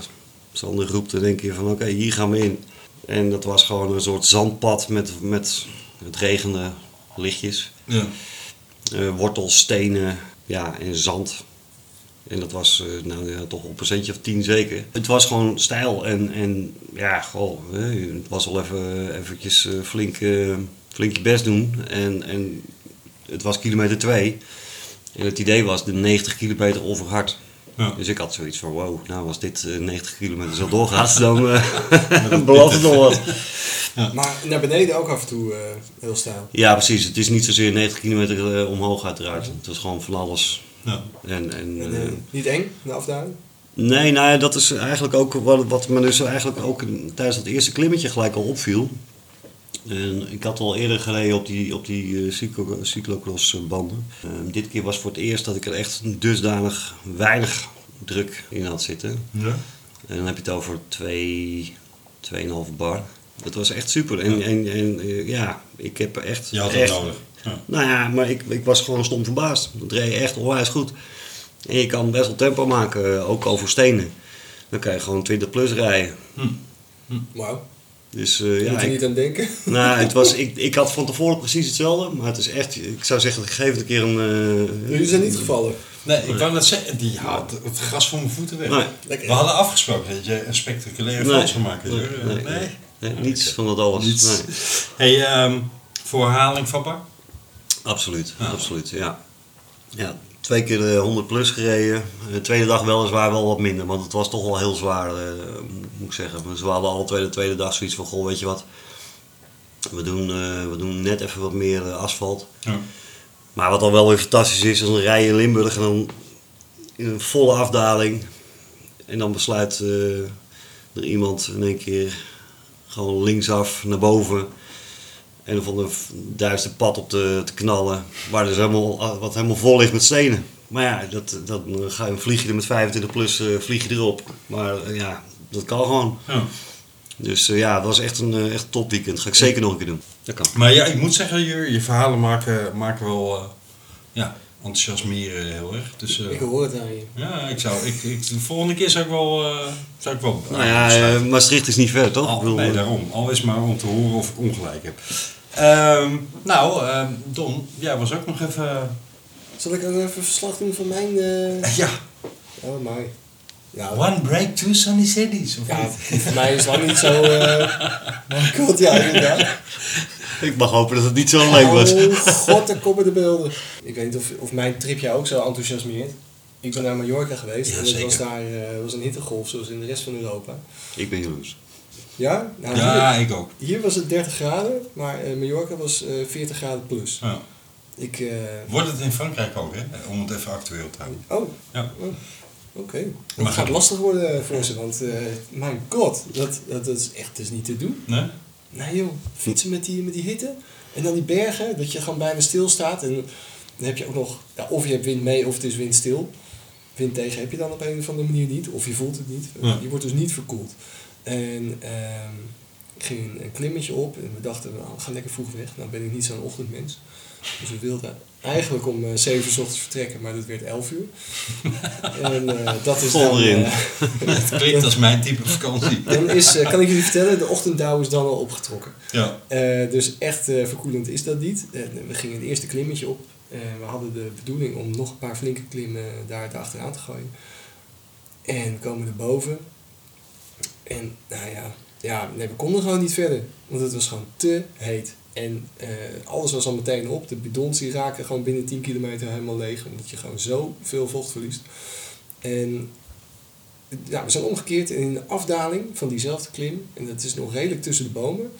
S9: Sander roept en denk je van oké, hier gaan we in. En dat was gewoon een soort zandpad met, met het regende lichtjes.
S2: Ja.
S9: Eh, wortels, stenen ja, en zand. En dat was eh, nou, ja, toch op een centje of tien zeker. Het was gewoon stijl en, en ja, goh, hè, het was al even eventjes eh, flink, eh, flink je best doen. En, en het was kilometer twee. En het idee was de 90 kilometer overhard.
S2: Ja.
S9: Dus ik had zoiets van, wow, nou als dit eh, 90 kilometer zo doorgaat, dan eh
S4: Dan
S9: belooft het nog wat.
S4: Maar naar beneden ook af en toe eh, heel stijl.
S9: Ja, precies. Het is niet zozeer 90 kilometer eh, omhoog uiteraard. Het was gewoon van alles.
S2: Ja.
S9: En, en,
S4: En,
S9: eh,
S4: eh, niet eng, de afdaling?
S9: Nee, nou ja, dat is eigenlijk ook wat, wat me dus eigenlijk ook in- tijdens dat eerste klimmetje gelijk al opviel. En ik had al eerder gereden op die, op die eh, cyclo, cyclocross eh, banden. Eh, dit keer was voor het eerst dat ik er echt dusdanig weinig druk in had zitten.
S2: Ja.
S9: En dan heb je het over 2, 2,5 bar. Dat was echt super. En ja, en, en, eh, ja ik heb echt...
S2: Je had het
S9: echt,
S2: nodig. Ja.
S9: Nou ja, maar ik, ik was gewoon stom verbaasd. Dat reed echt onwijs goed. En je kan best wel tempo maken, eh, ook over stenen. Dan kan je gewoon 20 plus rijden.
S4: Wauw.
S9: Dus eh, ja,
S4: Moet je
S9: ik-
S4: niet aan denken.
S9: Nou, het was, ik, ik had van tevoren precies hetzelfde, maar het is echt, ik zou zeggen, ik geef het een keer een... eh,
S4: Jullie zijn niet gevallen.
S2: Nee, ik kan net zeggen, die haalt het gras voor mijn voeten weg.
S9: Nee.
S2: We hadden afgesproken dat je een spectaculaire
S9: Nee.
S2: foto zou maken.
S9: Nee,
S2: Nee.
S9: nee, nee. Nee, niets van dat alles.
S2: Niets.
S9: Nee.
S2: Hey, ehm, voor herhaling vatbaar?
S9: Absoluut, absoluut, ja. ja. Twee keer de 100 plus gereden. De tweede dag weliswaar wel wat minder, want het was toch wel heel zwaar, eh, moet ik zeggen. Dus we hadden alle twee de tweede dag zoiets van, goh, weet je wat, we doen, eh, we doen net even wat meer eh, asfalt.
S2: Ja.
S9: Maar wat dan wel weer fantastisch is, is dan rij je in Limburg en dan in een volle afdaling. En dan besluit eh, er iemand in één keer gewoon linksaf naar boven. En dan van een v- duister pad op te, te knallen. Waar dus helemaal, wat helemaal vol ligt met stenen. Maar ja, dat, dat, dan ga je- vlieg je er met 25 plus eh, vlieg je erop. Maar eh, ja, dat kan gewoon.
S2: Ja.
S9: Dus eh, ja, het was echt een eh, echt top weekend. Ga ik zeker nog een keer doen. Dat kan.
S2: Maar ja, ik moet zeggen, je, je verhalen maken, maken wel eh, ja, enthousiasmeren heel erg. Dus, eh,
S4: Ik hoor het aan je.
S2: Ja, ik zou, ik, ik, de volgende keer zou ik wel... eh, zou ik wel
S9: Nou ja, eh, Maastricht is niet ver toch? Ik bedoel,
S2: Oh, nee,
S9: eh,
S2: daarom. Al is maar om te horen of ik ongelijk heb. Ehm, nou, ehm, Don, jij was ook nog even...
S4: Zal ik ook even verslag doen van mijn... eh,
S2: Ja.
S4: Oh, mooi. Ja,
S2: One break, two sunny cities. Of
S4: Ja,
S2: niet?
S4: voor mij is lang niet zo... eh maar goed, ja, inderdaad.
S9: Ik mag hopen dat het niet zo leuk was.
S4: Oh god, daar komen de beelden. Ik weet niet of, of mijn trip jou ook zo enthousiasmeert. Ik ben naar Mallorca geweest
S9: Ja,
S4: en het
S9: zeker.
S4: was daar eh, was een hittegolf zoals in de rest van Europa.
S9: Ik ben jaloers.
S4: Ja? Nou,
S2: Ja, ik ook.
S4: Hier was het 30 graden, maar eh, Mallorca was eh, 40 graden plus.
S2: Ja.
S4: Ik, eh,
S2: Wordt het in Frankrijk ook, hè? Om het even actueel te houden.
S4: Oh.
S2: Ja.
S4: Oh, Oké.
S2: Maar
S4: Het gaat
S2: goed.
S4: lastig worden voor ze, want eh, mijn god, dat, dat, dat is echt dus niet te doen.
S2: Nee?
S4: Nee joh, fietsen met die, met die hitte. En dan die bergen, dat je gewoon bijna stilstaat. En dan heb je ook nog, ja, of je hebt wind mee of het is wind stil. Wind tegen heb je dan op een of andere manier niet. Of je voelt het niet.
S2: Ja.
S4: Je wordt dus niet verkoeld. En ehm, ik ging een klimmetje op en we dachten, nou, we gaan lekker vroeg weg. Nou ben ik niet zo'n ochtendmens. Dus we wilden eigenlijk om eh, 7 uur 's ochtends vertrekken, maar dat werd 11 uur. en eh, dat is dan...
S2: Onderin.
S4: eh,
S2: Het klinkt als mijn type vakantie.
S4: dan is, eh, kan ik jullie vertellen, de ochtenddauw is dan al opgetrokken.
S2: Ja.
S4: Eh, dus echt eh, verkoelend is dat niet. Eh, we gingen het eerste klimmetje op. Eh, we hadden de bedoeling om nog een paar flinke klimmen daar achteraan te gooien. En we komen erboven. En nou ja, ja nee, we konden gewoon niet verder. Want het was gewoon te heet. En eh, alles was al meteen op. De bidons die raken gewoon binnen 10 kilometer helemaal leeg. Omdat je gewoon zoveel vocht verliest. En nou, we zijn omgekeerd en in de afdaling van diezelfde klim, en dat is nog redelijk tussen de bomen,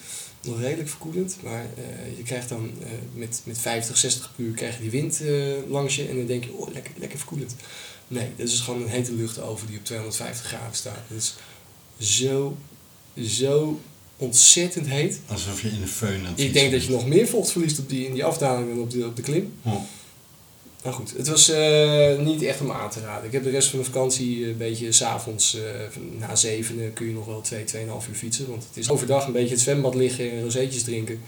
S4: nog redelijk verkoelend, maar eh, je krijgt dan eh, met, met 50, 60 per uur krijg je die wind eh, langs je en dan denk je, oh lekker, lekker verkoelend. Nee, dat is dus gewoon een hete lucht over die op 250 graden staat. Dat is zo, zo ontzettend heet.
S2: Alsof je in de feun aan het
S4: Ik
S2: fietsen
S4: denk dat je
S2: bent. Oh,
S4: nog meer vocht verliest op die, in die afdaling dan op de, op de klim.
S2: Ja.
S4: Maar goed, het was eh, niet echt om aan te raden. Ik heb de rest van de vakantie eh, een beetje s'avonds avonds eh, na zeven kun je nog wel twee, tweeënhalf uur fietsen. Want het is overdag een beetje het zwembad liggen en rozeetjes drinken.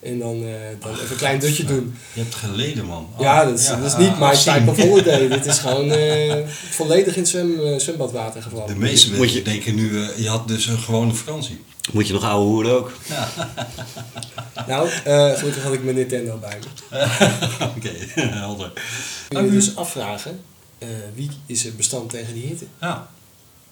S4: En dan, eh, dan even een klein dutje doen.
S2: Je hebt geleden, man. Oh,
S4: ja, dat is,
S2: ja,
S4: dat is niet
S2: ah,
S4: mijn
S2: zien.
S4: type of holiday. Dit is gewoon eh, volledig in het zwem, eh, zwembadwater gevallen.
S2: De meeste mensen denken nu, eh, je had dus een gewone vakantie.
S9: Moet je nog oude hoeren ook?
S4: Nou, eh, gelukkig had ik mijn Nintendo bij me.
S2: Oké, helder. Ah,
S4: Kun je dus afvragen, eh, wie is er bestand tegen die hitte?
S2: Ja.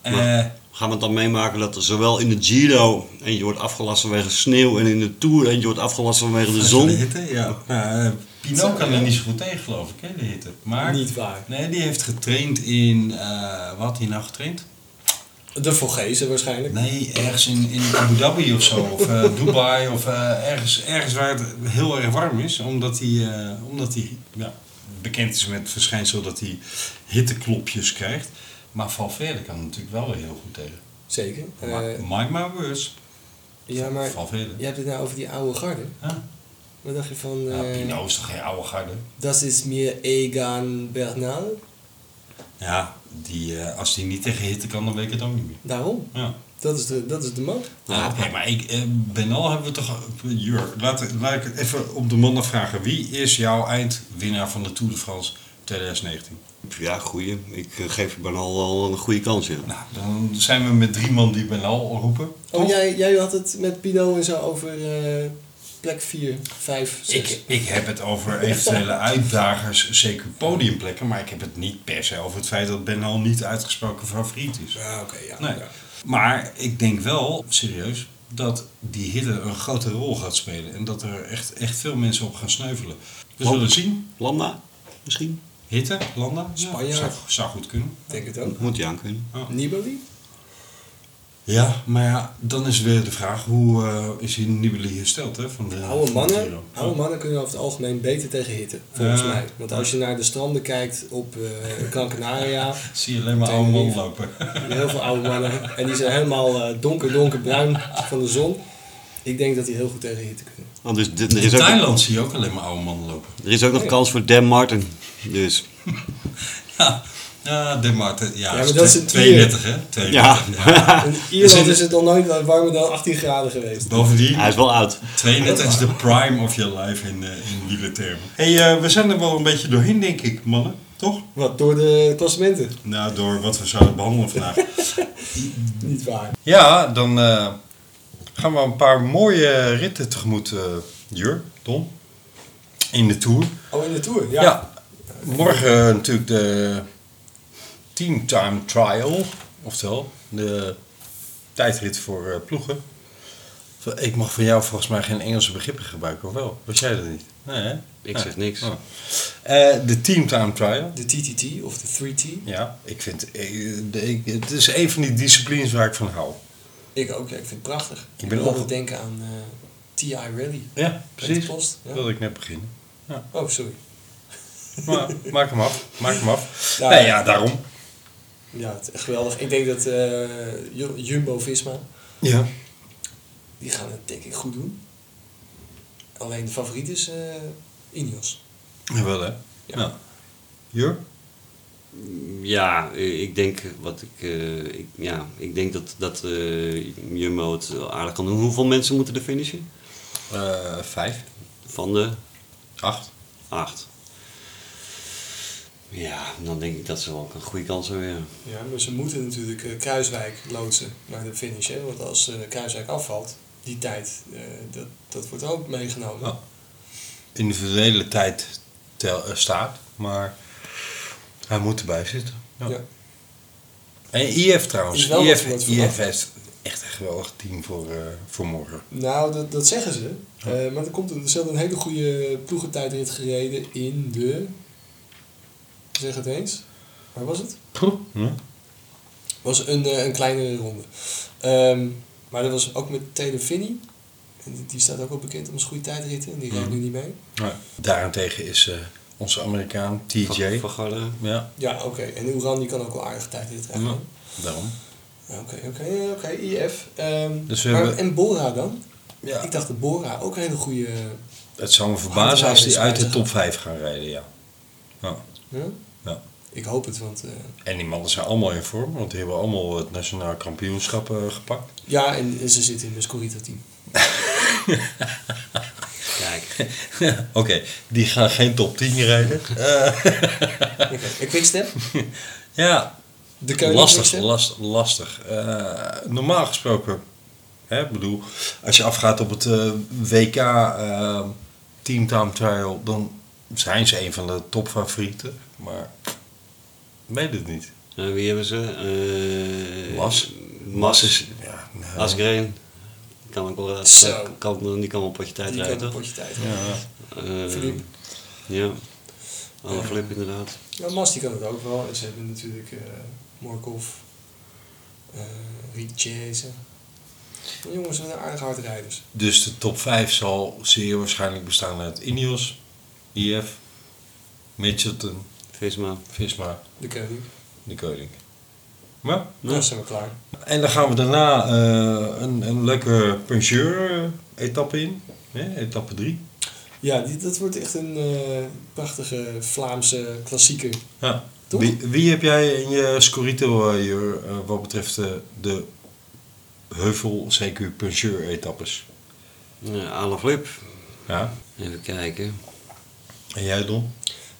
S2: Eh,
S9: Maar gaan we het dan meemaken dat er zowel in de Giro en je wordt afgelast vanwege sneeuw en in de Tour en je wordt afgelast vanwege de
S2: De
S9: zon?
S2: hitte, ja. Nou, eh, Pino kan er niet zo goed tegen, geloof ik, hè, de hitte. Maar,
S4: Niet waar.
S2: Nee, die heeft getraind in... eh, wat had hij nou getraind?
S4: De Vogezen waarschijnlijk.
S2: Nee, ergens in, in Abu Dhabi of zo. Of eh, Dubai. Of eh, ergens, ergens waar het heel erg warm is. Omdat hij, eh, omdat hij ja, bekend is met het verschijnsel dat hij hitteklopjes krijgt. Maar Valverde kan er natuurlijk wel weer heel goed tegen.
S4: Zeker.
S2: Mark
S4: Eh,
S2: mark my words.
S4: Ja, maar
S2: Valverde.
S4: je hebt het nou over die oude garde. Wat dacht je van...
S2: Ja,
S4: eh,
S2: Pino is toch geen oude garde?
S4: Dat is meer Egan Bernal.
S2: Ja, die, eh, als hij niet tegen hitte kan, dan weet ik het ook niet meer.
S4: Daarom.
S2: Ja.
S4: Dat is de, dat is de man.
S2: Ja, nee, maar ik, eh, Benal hebben we toch... eh, Jurk, laat, laat ik het even op de man afvragen. Wie is jouw eindwinnaar van de Tour de France 2019?
S9: Ja, goeie. Ik eh, geef Bernal wel een goede kans, ja.
S2: Nou, Dan zijn we met drie man die Benal roepen.
S4: Oh, jij, jij had het met Pino en zo over eh, plek 4, 5, 6.
S2: Ik, ik heb het over eventuele uitdagers, zeker podiumplekken. Maar ik heb het niet per se over het feit dat Benal niet uitgesproken favoriet is.
S4: Ja, Ah, oké, ja.
S2: Nee. Maar ik denk wel, serieus, dat die hitte een grote rol gaat spelen. En dat er echt, echt veel mensen op gaan sneuvelen. We
S9: Landa.
S2: zullen zien.
S9: Landa, misschien?
S2: Hitte, Landa. Ja,
S4: Spanjaard.
S2: Zou, zou goed kunnen.
S4: denk het ook.
S9: Moet hij aan kunnen.
S4: Nibali?
S2: Ja, maar ja, dan is weer de vraag, hoe eh, is hier Nibali hersteld? Hè, van de,
S4: Oude
S2: van de
S4: mannen, Oh.
S2: Giro?
S4: oude mannen kunnen over het algemeen beter tegen hitte, volgens
S2: Eh,
S4: mij. Want als je naar de stranden kijkt op eh Gran Canaria,
S2: Zie je alleen maar oude man lopen.
S4: heel veel oude mannen. En die zijn helemaal eh, donker, donkerbruin van de zon. Ik denk dat die heel goed tegen hitte kunnen.
S9: Want dus, dit- er,
S2: In
S9: is ook,
S2: Thailand zie je ook alleen maar oude mannen lopen.
S9: er is ook nog kans voor Dan Martin. Dus.
S2: Ja, ja de Marten, ja,
S4: maar dat is een
S2: 32 hè? 32,
S9: Ja.
S4: In
S2: We
S4: Ierland
S2: zitten-
S4: is het al nooit warmer dan 18 graden geweest.
S2: Bovendien,
S9: Hij is wel oud.
S2: 32 is de prime of your life in, eh in wielertermen. hey, eh, we zijn er wel een beetje doorheen denk ik, mannen. Toch?
S4: Wat, door de klassementen?
S2: Nou, door wat we zouden behandelen vandaag.
S4: Niet waar.
S2: ja, dan eh, gaan we een paar mooie ritten tegemoet, eh, Jur, Don. In de Tour.
S4: Oh, in de Tour, ja.
S2: Ja. Morgen eh, natuurlijk de Team Time Trial. Oftewel, de tijdrit voor eh, ploegen. Ik mag van jou volgens mij geen Engelse begrippen gebruiken, of wel? Was jij dat niet? Nee, hè?
S9: Ik zeg niks.
S2: Oh. Eh, de Team Time Trial.
S4: De TTT of de 3T.
S2: Ja, ik vind... eh, de- ik- het is een van die disciplines waar ik van hou.
S4: Ik ook, ja, ik vind het prachtig.
S2: ben
S4: Ik ben altijd
S2: ook-
S4: denken aan eh, TI Rally.
S2: Ja,
S4: Peter
S2: precies.
S4: Post, ja.
S2: wilde ik net beginnen.
S4: Oh, sorry.
S2: Maar maak hem af, maak hem af.
S4: Ja.
S2: nee, ja, daarom.
S4: Ja, het is echt geweldig. Ik denk dat eh, Ju- Jumbo-Visma,
S2: Ja.
S4: die gaan het denk ik goed doen. Alleen de favoriet is eh Ineos.
S2: Wel, hè? Nou. Jur?
S9: Ja, eh, ik denk, wat ik, eh, ik, ja, ik denk dat, dat eh, Jumbo het wel aardig kan doen. Hoeveel mensen moeten er finishen?
S2: Eh, vijf.
S9: Van de
S2: Acht.
S9: acht. Ja, dan denk ik dat ze wel ook een goede kans hebben. ja.
S4: Ja, maar ze moeten natuurlijk eh, Kruiswijk loodsen naar de finish. Hè? Want als eh, Kruiswijk afvalt, die tijd, eh, dat, dat wordt ook meegenomen.
S2: Ja. individuele tijd tel, eh, staat, maar hij moet erbij zitten.
S4: Ja.
S2: En IF trouwens,
S4: Is wel wat
S2: IF,
S4: wordt
S2: IF
S4: verwacht.
S2: heeft echt een geweldig team voor, eh, voor morgen.
S4: Nou, dat, dat zeggen ze. Eh, maar er, komt een, ze hadden een hele goede ploegentijdrit gereden in de... Zeg het eens. Waar was het?
S2: Ja.
S4: was een, eh, een kleinere ronde. Ehm, maar dat was ook met Taylor Finney. En die- die staat ook wel bekend om zijn goede tijdritten. En die rijdt
S2: Mhm.
S4: nu niet mee.
S2: Daarentegen is eh, onze Amerikaan TJ.
S9: Van Garderen.
S2: Ja,
S4: Ja, oké. En Uran die kan ook wel aardige tijdrit rijden.
S2: Ja. daarom.
S4: Ja, Oké, oké, oké. IF. Ehm,
S2: Dus we
S4: maar-
S2: hebben-
S4: En Bora dan? Ik dacht dat Bora ook een hele goede...
S2: Het zou me verbazen als die uit de top 5 gaan rijden, ja. ja.
S4: Ja?
S2: Ja.
S4: eh, Ik hoop het, want... eh,
S2: En die mannen zijn allemaal in vorm, want die hebben allemaal het nationaal kampioenschap eh, gepakt.
S4: ja, en, en ze zitten in mijn Scorita-team.
S2: Kijk. Oké, die gaan geen top 10 rijden. Eh,
S4: Oké, En Quickstep?
S2: ja,
S4: De keuze
S2: lastig, last, lastig. Eh, normaal gesproken, hè, ik bedoel, als je afgaat op het eh, WK eh, Team Time Trial, dan zijn ze een van de topfavorieten, maar weet het niet.
S9: Eh, wie hebben ze? Eh,
S2: Mas.
S9: Mas is.
S2: Ja, nou.
S9: Asgreen. Eh, Kan ik wel. eh,
S4: Zo.
S9: Kan, die kan wel een potje tijd
S4: Die kan
S9: rijden,
S4: een
S9: toch?
S4: potje tijd
S2: Ja,
S4: rijden.
S9: Eh,
S4: Philippe.
S9: Ja. Alle Flip, inderdaad.
S4: Ja, Nou, Mas die kan het ook wel. En ze hebben natuurlijk eh, Morkov, eh Richese. De jongens zijn aardig hard rijders.
S2: Dus de top 5 zal zeer waarschijnlijk bestaan uit Ineos, IF, Mitchelton,
S9: Visma.
S2: Visma,
S4: De koning.
S2: de koning. Maar,
S4: Ja. Dan zijn we klaar.
S2: En dan gaan we daarna eh, een, een leuke puncheur-etappe in. Hè? Etappe 3.
S4: Ja, die, dat wordt echt een eh, prachtige Vlaamse klassieker.
S2: Ja.
S4: Toch?
S2: Wie, wie heb jij in je Scorito, eh, Jur, eh, wat betreft de, de heuvel CQ puncheur-etappes?
S9: Eh, Alle Flip.
S2: Ja.
S9: Even kijken.
S2: En jij, Don?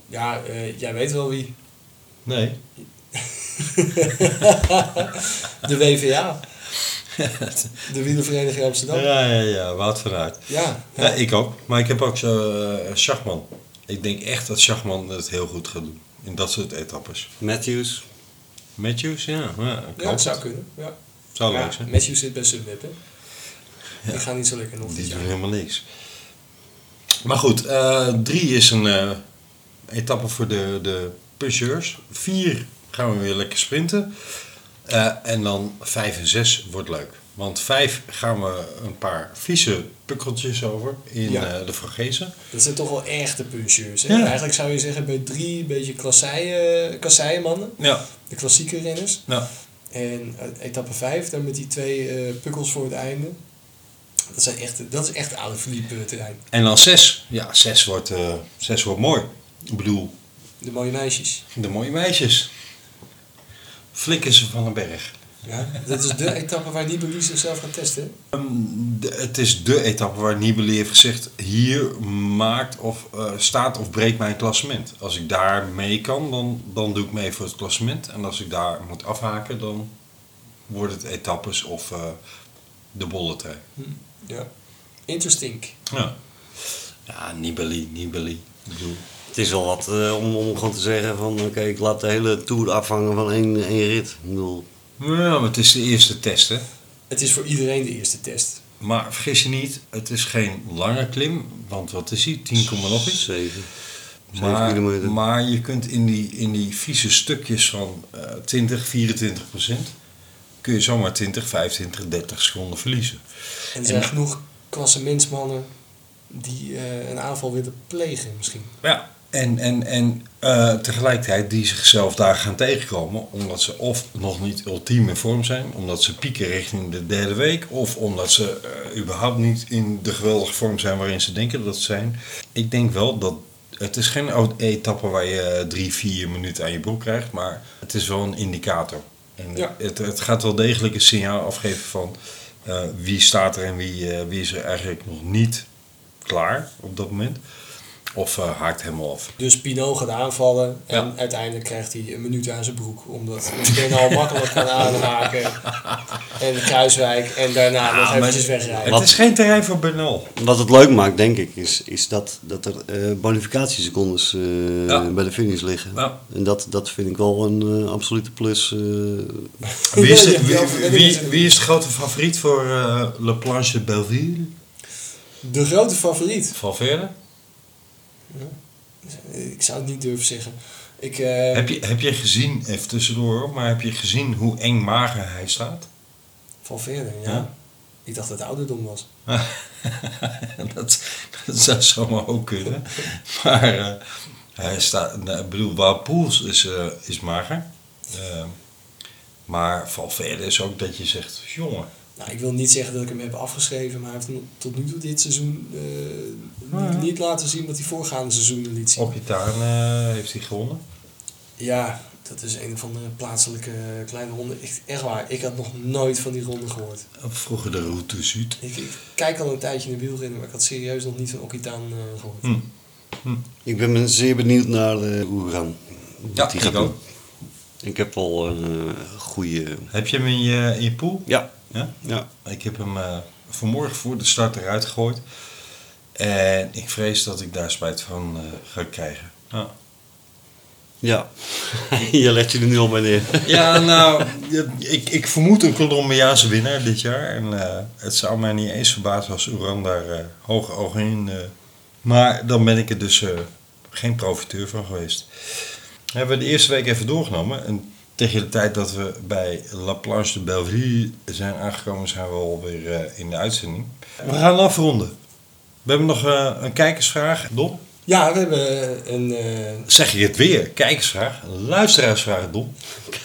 S4: Ja, eh, jij weet wel wie.
S2: Nee.
S4: de WVA. De Wielervereniging Amsterdam.
S2: Ja, ja, ja, Wout van Aert.
S4: Ja,
S2: ja. ik ook. Maar ik heb ook eh Schachman. Ik denk echt dat Schachman het heel goed gaat doen. In dat soort etappes.
S9: Matthews.
S2: Matthews, ja. Ja,
S4: Ja, dat zou kunnen. Ja.
S2: Zou
S4: Ja,
S2: leuk zijn.
S4: Matthew zit bij Sunweb, hè. Die gaan niet zo lekker nog.
S2: Die
S4: dit
S2: doen
S4: jaar.
S2: helemaal niks. Maar goed, eh, drie is een eh, etappe voor de, de pusheurs. Vier gaan we weer lekker sprinten. Eh, en dan vijf en zes wordt leuk. Want vijf gaan we een paar vieze pukkeltjes over in
S4: Ja.
S2: eh, de Fragezen.
S4: Dat zijn toch wel echte puncheurs. Hè?
S2: Ja.
S4: Eigenlijk zou je zeggen bij drie een beetje klasseien- kasseienmannen.
S2: Ja,
S4: De klassieke renners.
S2: nou,
S4: En eh, etappe 5, dan met die twee eh, pukkels voor het einde. Dat, zijn echt, dat is echt Alaphilippe eh, terrein.
S2: en dan zes. Ja, zes wordt, eh, zes wordt mooi. Ik bedoel,
S4: De mooie meisjes.
S2: de mooie meisjes. Flikken ze van een berg.
S4: Ja? Dat is de etappe waar Nibali zichzelf gaat testen. hè?
S2: Ehm, de- het is de etappe waar Nibali heeft gezegd: hier maakt of eh, staat of breekt mijn klassement. Als ik daar mee kan, dan, dan doe ik mee voor het klassement. En als ik daar moet afhaken, dan wordt het etappes of eh, de bolletrein.
S4: Ja. Interesting.
S2: Ja. ja, Nibali, Nibali. Ik bedoel,
S9: Het is wel wat eh, om, om gewoon te zeggen van oké, ik laat de hele tour afhangen van één, één rit. Ik bedoel,
S2: Ja, maar het is de eerste test, hè?
S4: Het is voor iedereen de eerste test.
S2: Maar vergis je niet, het is geen lange klim, want wat is die? 10, komma nog iets.
S9: zeven. Zeven
S2: Maar,
S9: kilometer.
S2: maar je kunt in die, in die vieze stukjes van eh 20, 24 procent... kun je zomaar 20, 25, 30 seconden verliezen.
S4: En er zijn genoeg klassementsmannen die eh, een aanval willen plegen misschien.
S2: Ja. En, en, en eh, tegelijkertijd die zichzelf daar gaan tegenkomen... omdat ze of nog niet ultiem in vorm zijn... omdat ze pieken richting de derde week... of omdat ze eh, überhaupt niet in de geweldige vorm zijn waarin ze denken dat ze zijn. Ik denk wel dat... Het is geen etappe waar je eh, drie, vier minuten aan je broek krijgt... maar het is wel een indicator. En
S4: Ja.
S2: het, het gaat wel degelijk een signaal afgeven van... eh, wie staat er en wie, eh, wie is er eigenlijk nog niet klaar op dat moment... Of eh, haakt helemaal af.
S4: Dus Pinot gaat aanvallen en
S2: Ja.
S4: uiteindelijk krijgt hij een minuut aan zijn broek. Omdat Bernal makkelijk kan aanraken en Kruiswijk en daarna nog eventjes wegrijden.
S2: Het is geen terrein voor Bernal.
S9: Wat het leuk maakt, denk ik, is, is dat, dat er eh bonificatiesecondes eh,
S2: Ja.
S9: bij de finish liggen.
S2: Ja.
S9: En dat, dat vind ik wel een eh, absolute plus. eh.
S2: Wie is, de,
S4: Ja, ja,
S2: wie,
S4: ja,
S2: wie,
S4: ja, ja.
S2: wie is de grote favoriet voor eh, Le Planche Belleville?
S4: De grote favoriet.
S2: Valverde?
S4: Ik zou het niet durven zeggen. Ik, eh,
S2: Heb je, heb je gezien, even tussendoor, maar heb je gezien hoe eng mager hij staat?
S4: Van verder, ja.
S2: Ja.
S4: Ik dacht dat het ouderdom was.
S2: dat, dat zou zomaar ook kunnen. Maar eh, hij staat, nou, ik bedoel, Wout Poels is, eh, is mager. Eh, maar Valverde is ook dat je zegt, jongen.
S4: Nou, ik wil niet zeggen dat ik hem heb afgeschreven, maar hij heeft tot nu toe dit seizoen eh,
S2: Nou ja.
S4: niet, niet laten zien wat hij voorgaande seizoenen liet zien.
S2: Op je tuin eh, heeft hij gewonnen.
S4: Ja, dat is een van de plaatselijke eh, kleine ronden. Ik, echt waar, ik had nog nooit van die ronde gehoord.
S2: Vroeger de Route du Sud.
S4: Ik, ik kijk al een tijdje in de wielrennen, maar ik had serieus nog niet van Okitaan eh, gehoord.
S2: Hm.
S9: Ik ben me zeer benieuwd naar eh Oeran.
S2: Ja,
S9: die
S2: ik
S9: gaat
S2: ook.
S9: doen. Ik heb al een eh, goede...
S2: Heb je hem in je, in je pool?
S9: Ja.
S2: ja.
S9: Ja.
S2: Ik heb hem eh, vanmorgen voor de start eruit gegooid. En ik vrees dat ik daar spijt van eh, ga krijgen. Ja.
S9: Ja, je legt je er nu al bij neer.
S2: Ja, nou, je- ik, ik vermoed een Colombiaanse winnaar dit jaar. En eh, het zou mij niet eens verbazen als Uran daar eh, hoge ogen in. eh, maar dan ben ik er dus eh, geen profiteur van geweest. Hebben we de eerste week even doorgenomen. En tegen de tijd dat we bij La Planche de Belleville zijn aangekomen, zijn we alweer eh, in de uitzending. We gaan afronden. We hebben nog eh, een kijkersvraag. Dom,
S4: Ja, we hebben een... eh,
S2: zeg je het weer? Kijkersvraag? Luisteraarsvraag, Dom.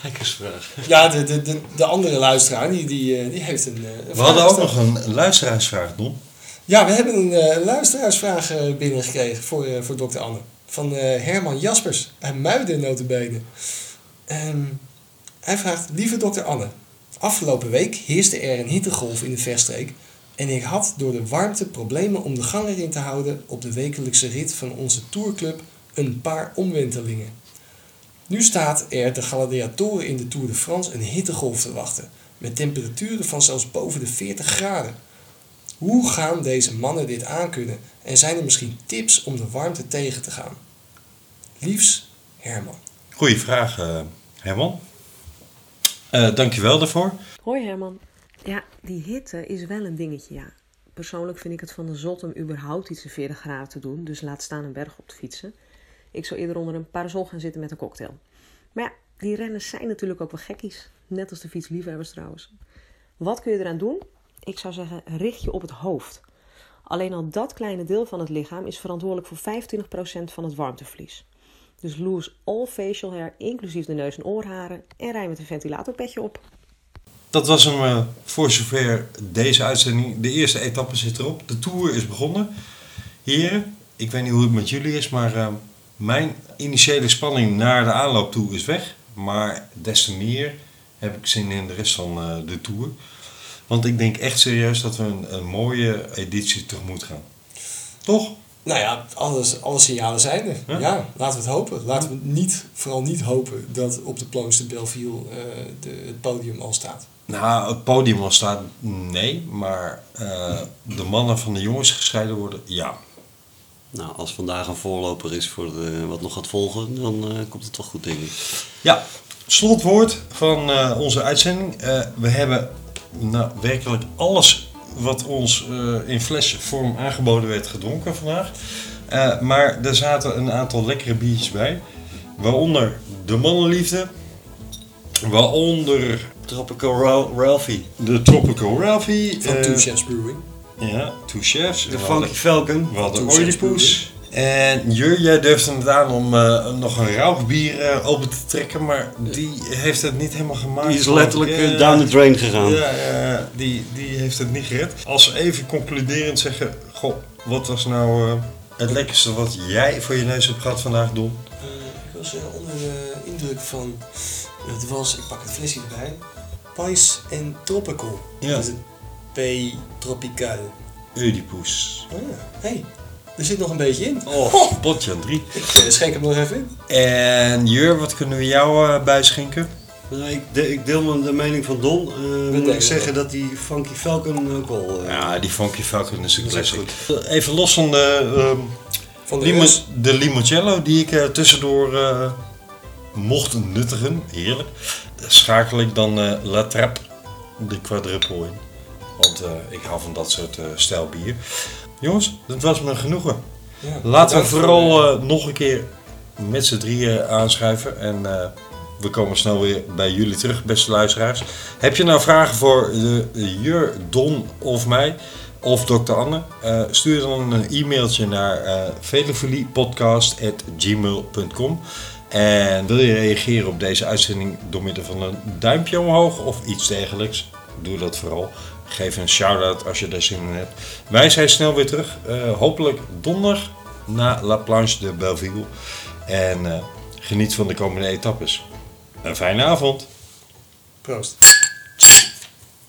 S9: Kijkersvraag.
S4: ja, de, de, de, de andere luisteraar, die, die, eh, die heeft een... eh, een
S2: We
S4: vraag
S2: hadden ook
S4: gesteld.
S2: nog een luisteraarsvraag, Dom.
S4: Ja, we hebben een eh, luisteraarsvraag eh, binnengekregen voor, eh, voor dokter Anne. Van eh, Herman Jaspers, uit Muiden notabene. Ehm, hij vraagt, lieve dokter Anne. Afgelopen week heerste er een hittegolf in de verstreek. En ik had door de warmte problemen om de gang erin te houden op de wekelijkse rit van onze tourclub een paar omwentelingen. Nu staat er de gladiatoren in de Tour de France een hittegolf te wachten. Met temperaturen van zelfs boven de 40 graden. Hoe gaan deze mannen dit aankunnen? En zijn er misschien tips om de warmte tegen te gaan? Liefs, Herman.
S2: Goeie vraag, eh, Herman. Eh dankjewel daarvoor.
S7: Hoi Herman. Ja, die hitte is wel een dingetje, ja. Persoonlijk vind ik het van de zot om überhaupt iets in 40 graden te doen, dus laat staan een berg op te fietsen. Ik zou eerder onder een parasol gaan zitten met een cocktail. Maar ja, die renners zijn natuurlijk ook wel gekkies. Net als de fietsliefhebbers trouwens. Wat kun je eraan doen? Ik zou zeggen, richt je op het hoofd. Alleen al dat kleine deel van het lichaam is verantwoordelijk voor 25% van het warmteverlies. Dus lose all facial hair, inclusief de neus- en oorharen, en rij met een ventilatorpetje op.
S2: Dat was hem eh, voor zover deze uitzending. De eerste etappe zit erop. De tour is begonnen. Heren, ik weet niet hoe het met jullie is, maar eh, mijn initiële spanning naar de aanloop toe is weg. Maar des te meer heb ik zin in de rest van eh, de tour. Want ik denk echt serieus dat we een, een mooie editie tegemoet gaan. Toch?
S4: Nou ja, alles, alle signalen zijn er. Ja? laten we het hopen. Laten we niet, vooral niet hopen dat op de Planche de Belleville eh, de, het podium al staat.
S2: Nou, het podium al staat, nee. Maar eh, de mannen van de jongens gescheiden worden, ja.
S9: Nou, als vandaag een voorloper is voor de, wat nog gaat volgen, dan eh, komt het wel goed, denk ik.
S2: Ja, slotwoord van eh, onze uitzending. Eh, we hebben nou, werkelijk alles wat ons eh, in flesvorm aangeboden werd gedronken vandaag. Eh, maar er zaten een aantal lekkere biertjes bij. Waaronder de mannenliefde. Waaronder...
S9: Tropical Ralphie.
S2: De Tropical Ralphie.
S4: Van
S2: eh,
S4: Two Chefs Brewing.
S2: Ja, Two Chefs.
S9: De
S2: We
S9: Funky
S2: hadden-
S9: Falcon.
S2: We hadden
S9: Two Chefs
S2: Oedipus. En Jur, jij durfde het aan om eh, nog een rauwbier eh, open te trekken, maar die heeft het niet helemaal gemaakt.
S9: Die is letterlijk,
S2: Ja,
S9: eh, down the drain gegaan.
S2: Ja, ja, ja. die, die heeft het niet gered. Als we even concluderend zeggen, goh, wat was nou eh, het lekkerste wat jij voor je neus hebt gehad vandaag, Don?
S4: Ik was eh, onder de indruk van, het was, ik pak het flesje erbij, Pais en Tropical.
S2: Ja.
S4: Dat is een P Tropical.
S2: Oedipus.
S4: Oh ja, hey, er zit nog een beetje in.
S2: Oh, potje aan drie.
S4: Ik eh, schenk hem nog even in.
S2: En Jur, wat kunnen we jou eh, bijschenken?
S9: Nou, ik, de- ik deel me de mening van Don. Eh, moet
S2: delen
S9: ik zeggen dat die Funky Falcon ook al... eh,
S2: Ja, die Funky Falcon is een classic. Even los van de, ehm,
S4: de
S2: limo-
S4: rest.
S2: de limoncello die ik eh, tussendoor eh, mocht nuttigen, heerlijk, schakel ik dan eh La Trappe, de quadruple in. Want eh, ik hou van dat soort eh stijl bier. Jongens, dat was me genoegen.
S4: Ja,
S2: Laten we
S4: bedankt voor,
S2: vooral eh, nog een keer met z'n drieën aanschuiven. En eh, we komen snel weer bij jullie terug, beste luisteraars. Heb je nou vragen voor de Jur, Don of mij? Of dokter Anne? eh, stuur dan een e-mailtje naar eh velofiliepodcast.gmail.com. En wil je reageren op deze uitzending door middel van een duimpje omhoog of iets dergelijks? Doe dat vooral. Geef een shout-out als je daar zin in hebt. Wij zijn snel weer terug. eh, hopelijk donderdag na La Planche de Belleville. En eh, geniet van de komende etappes. Een fijne avond.
S4: Proost.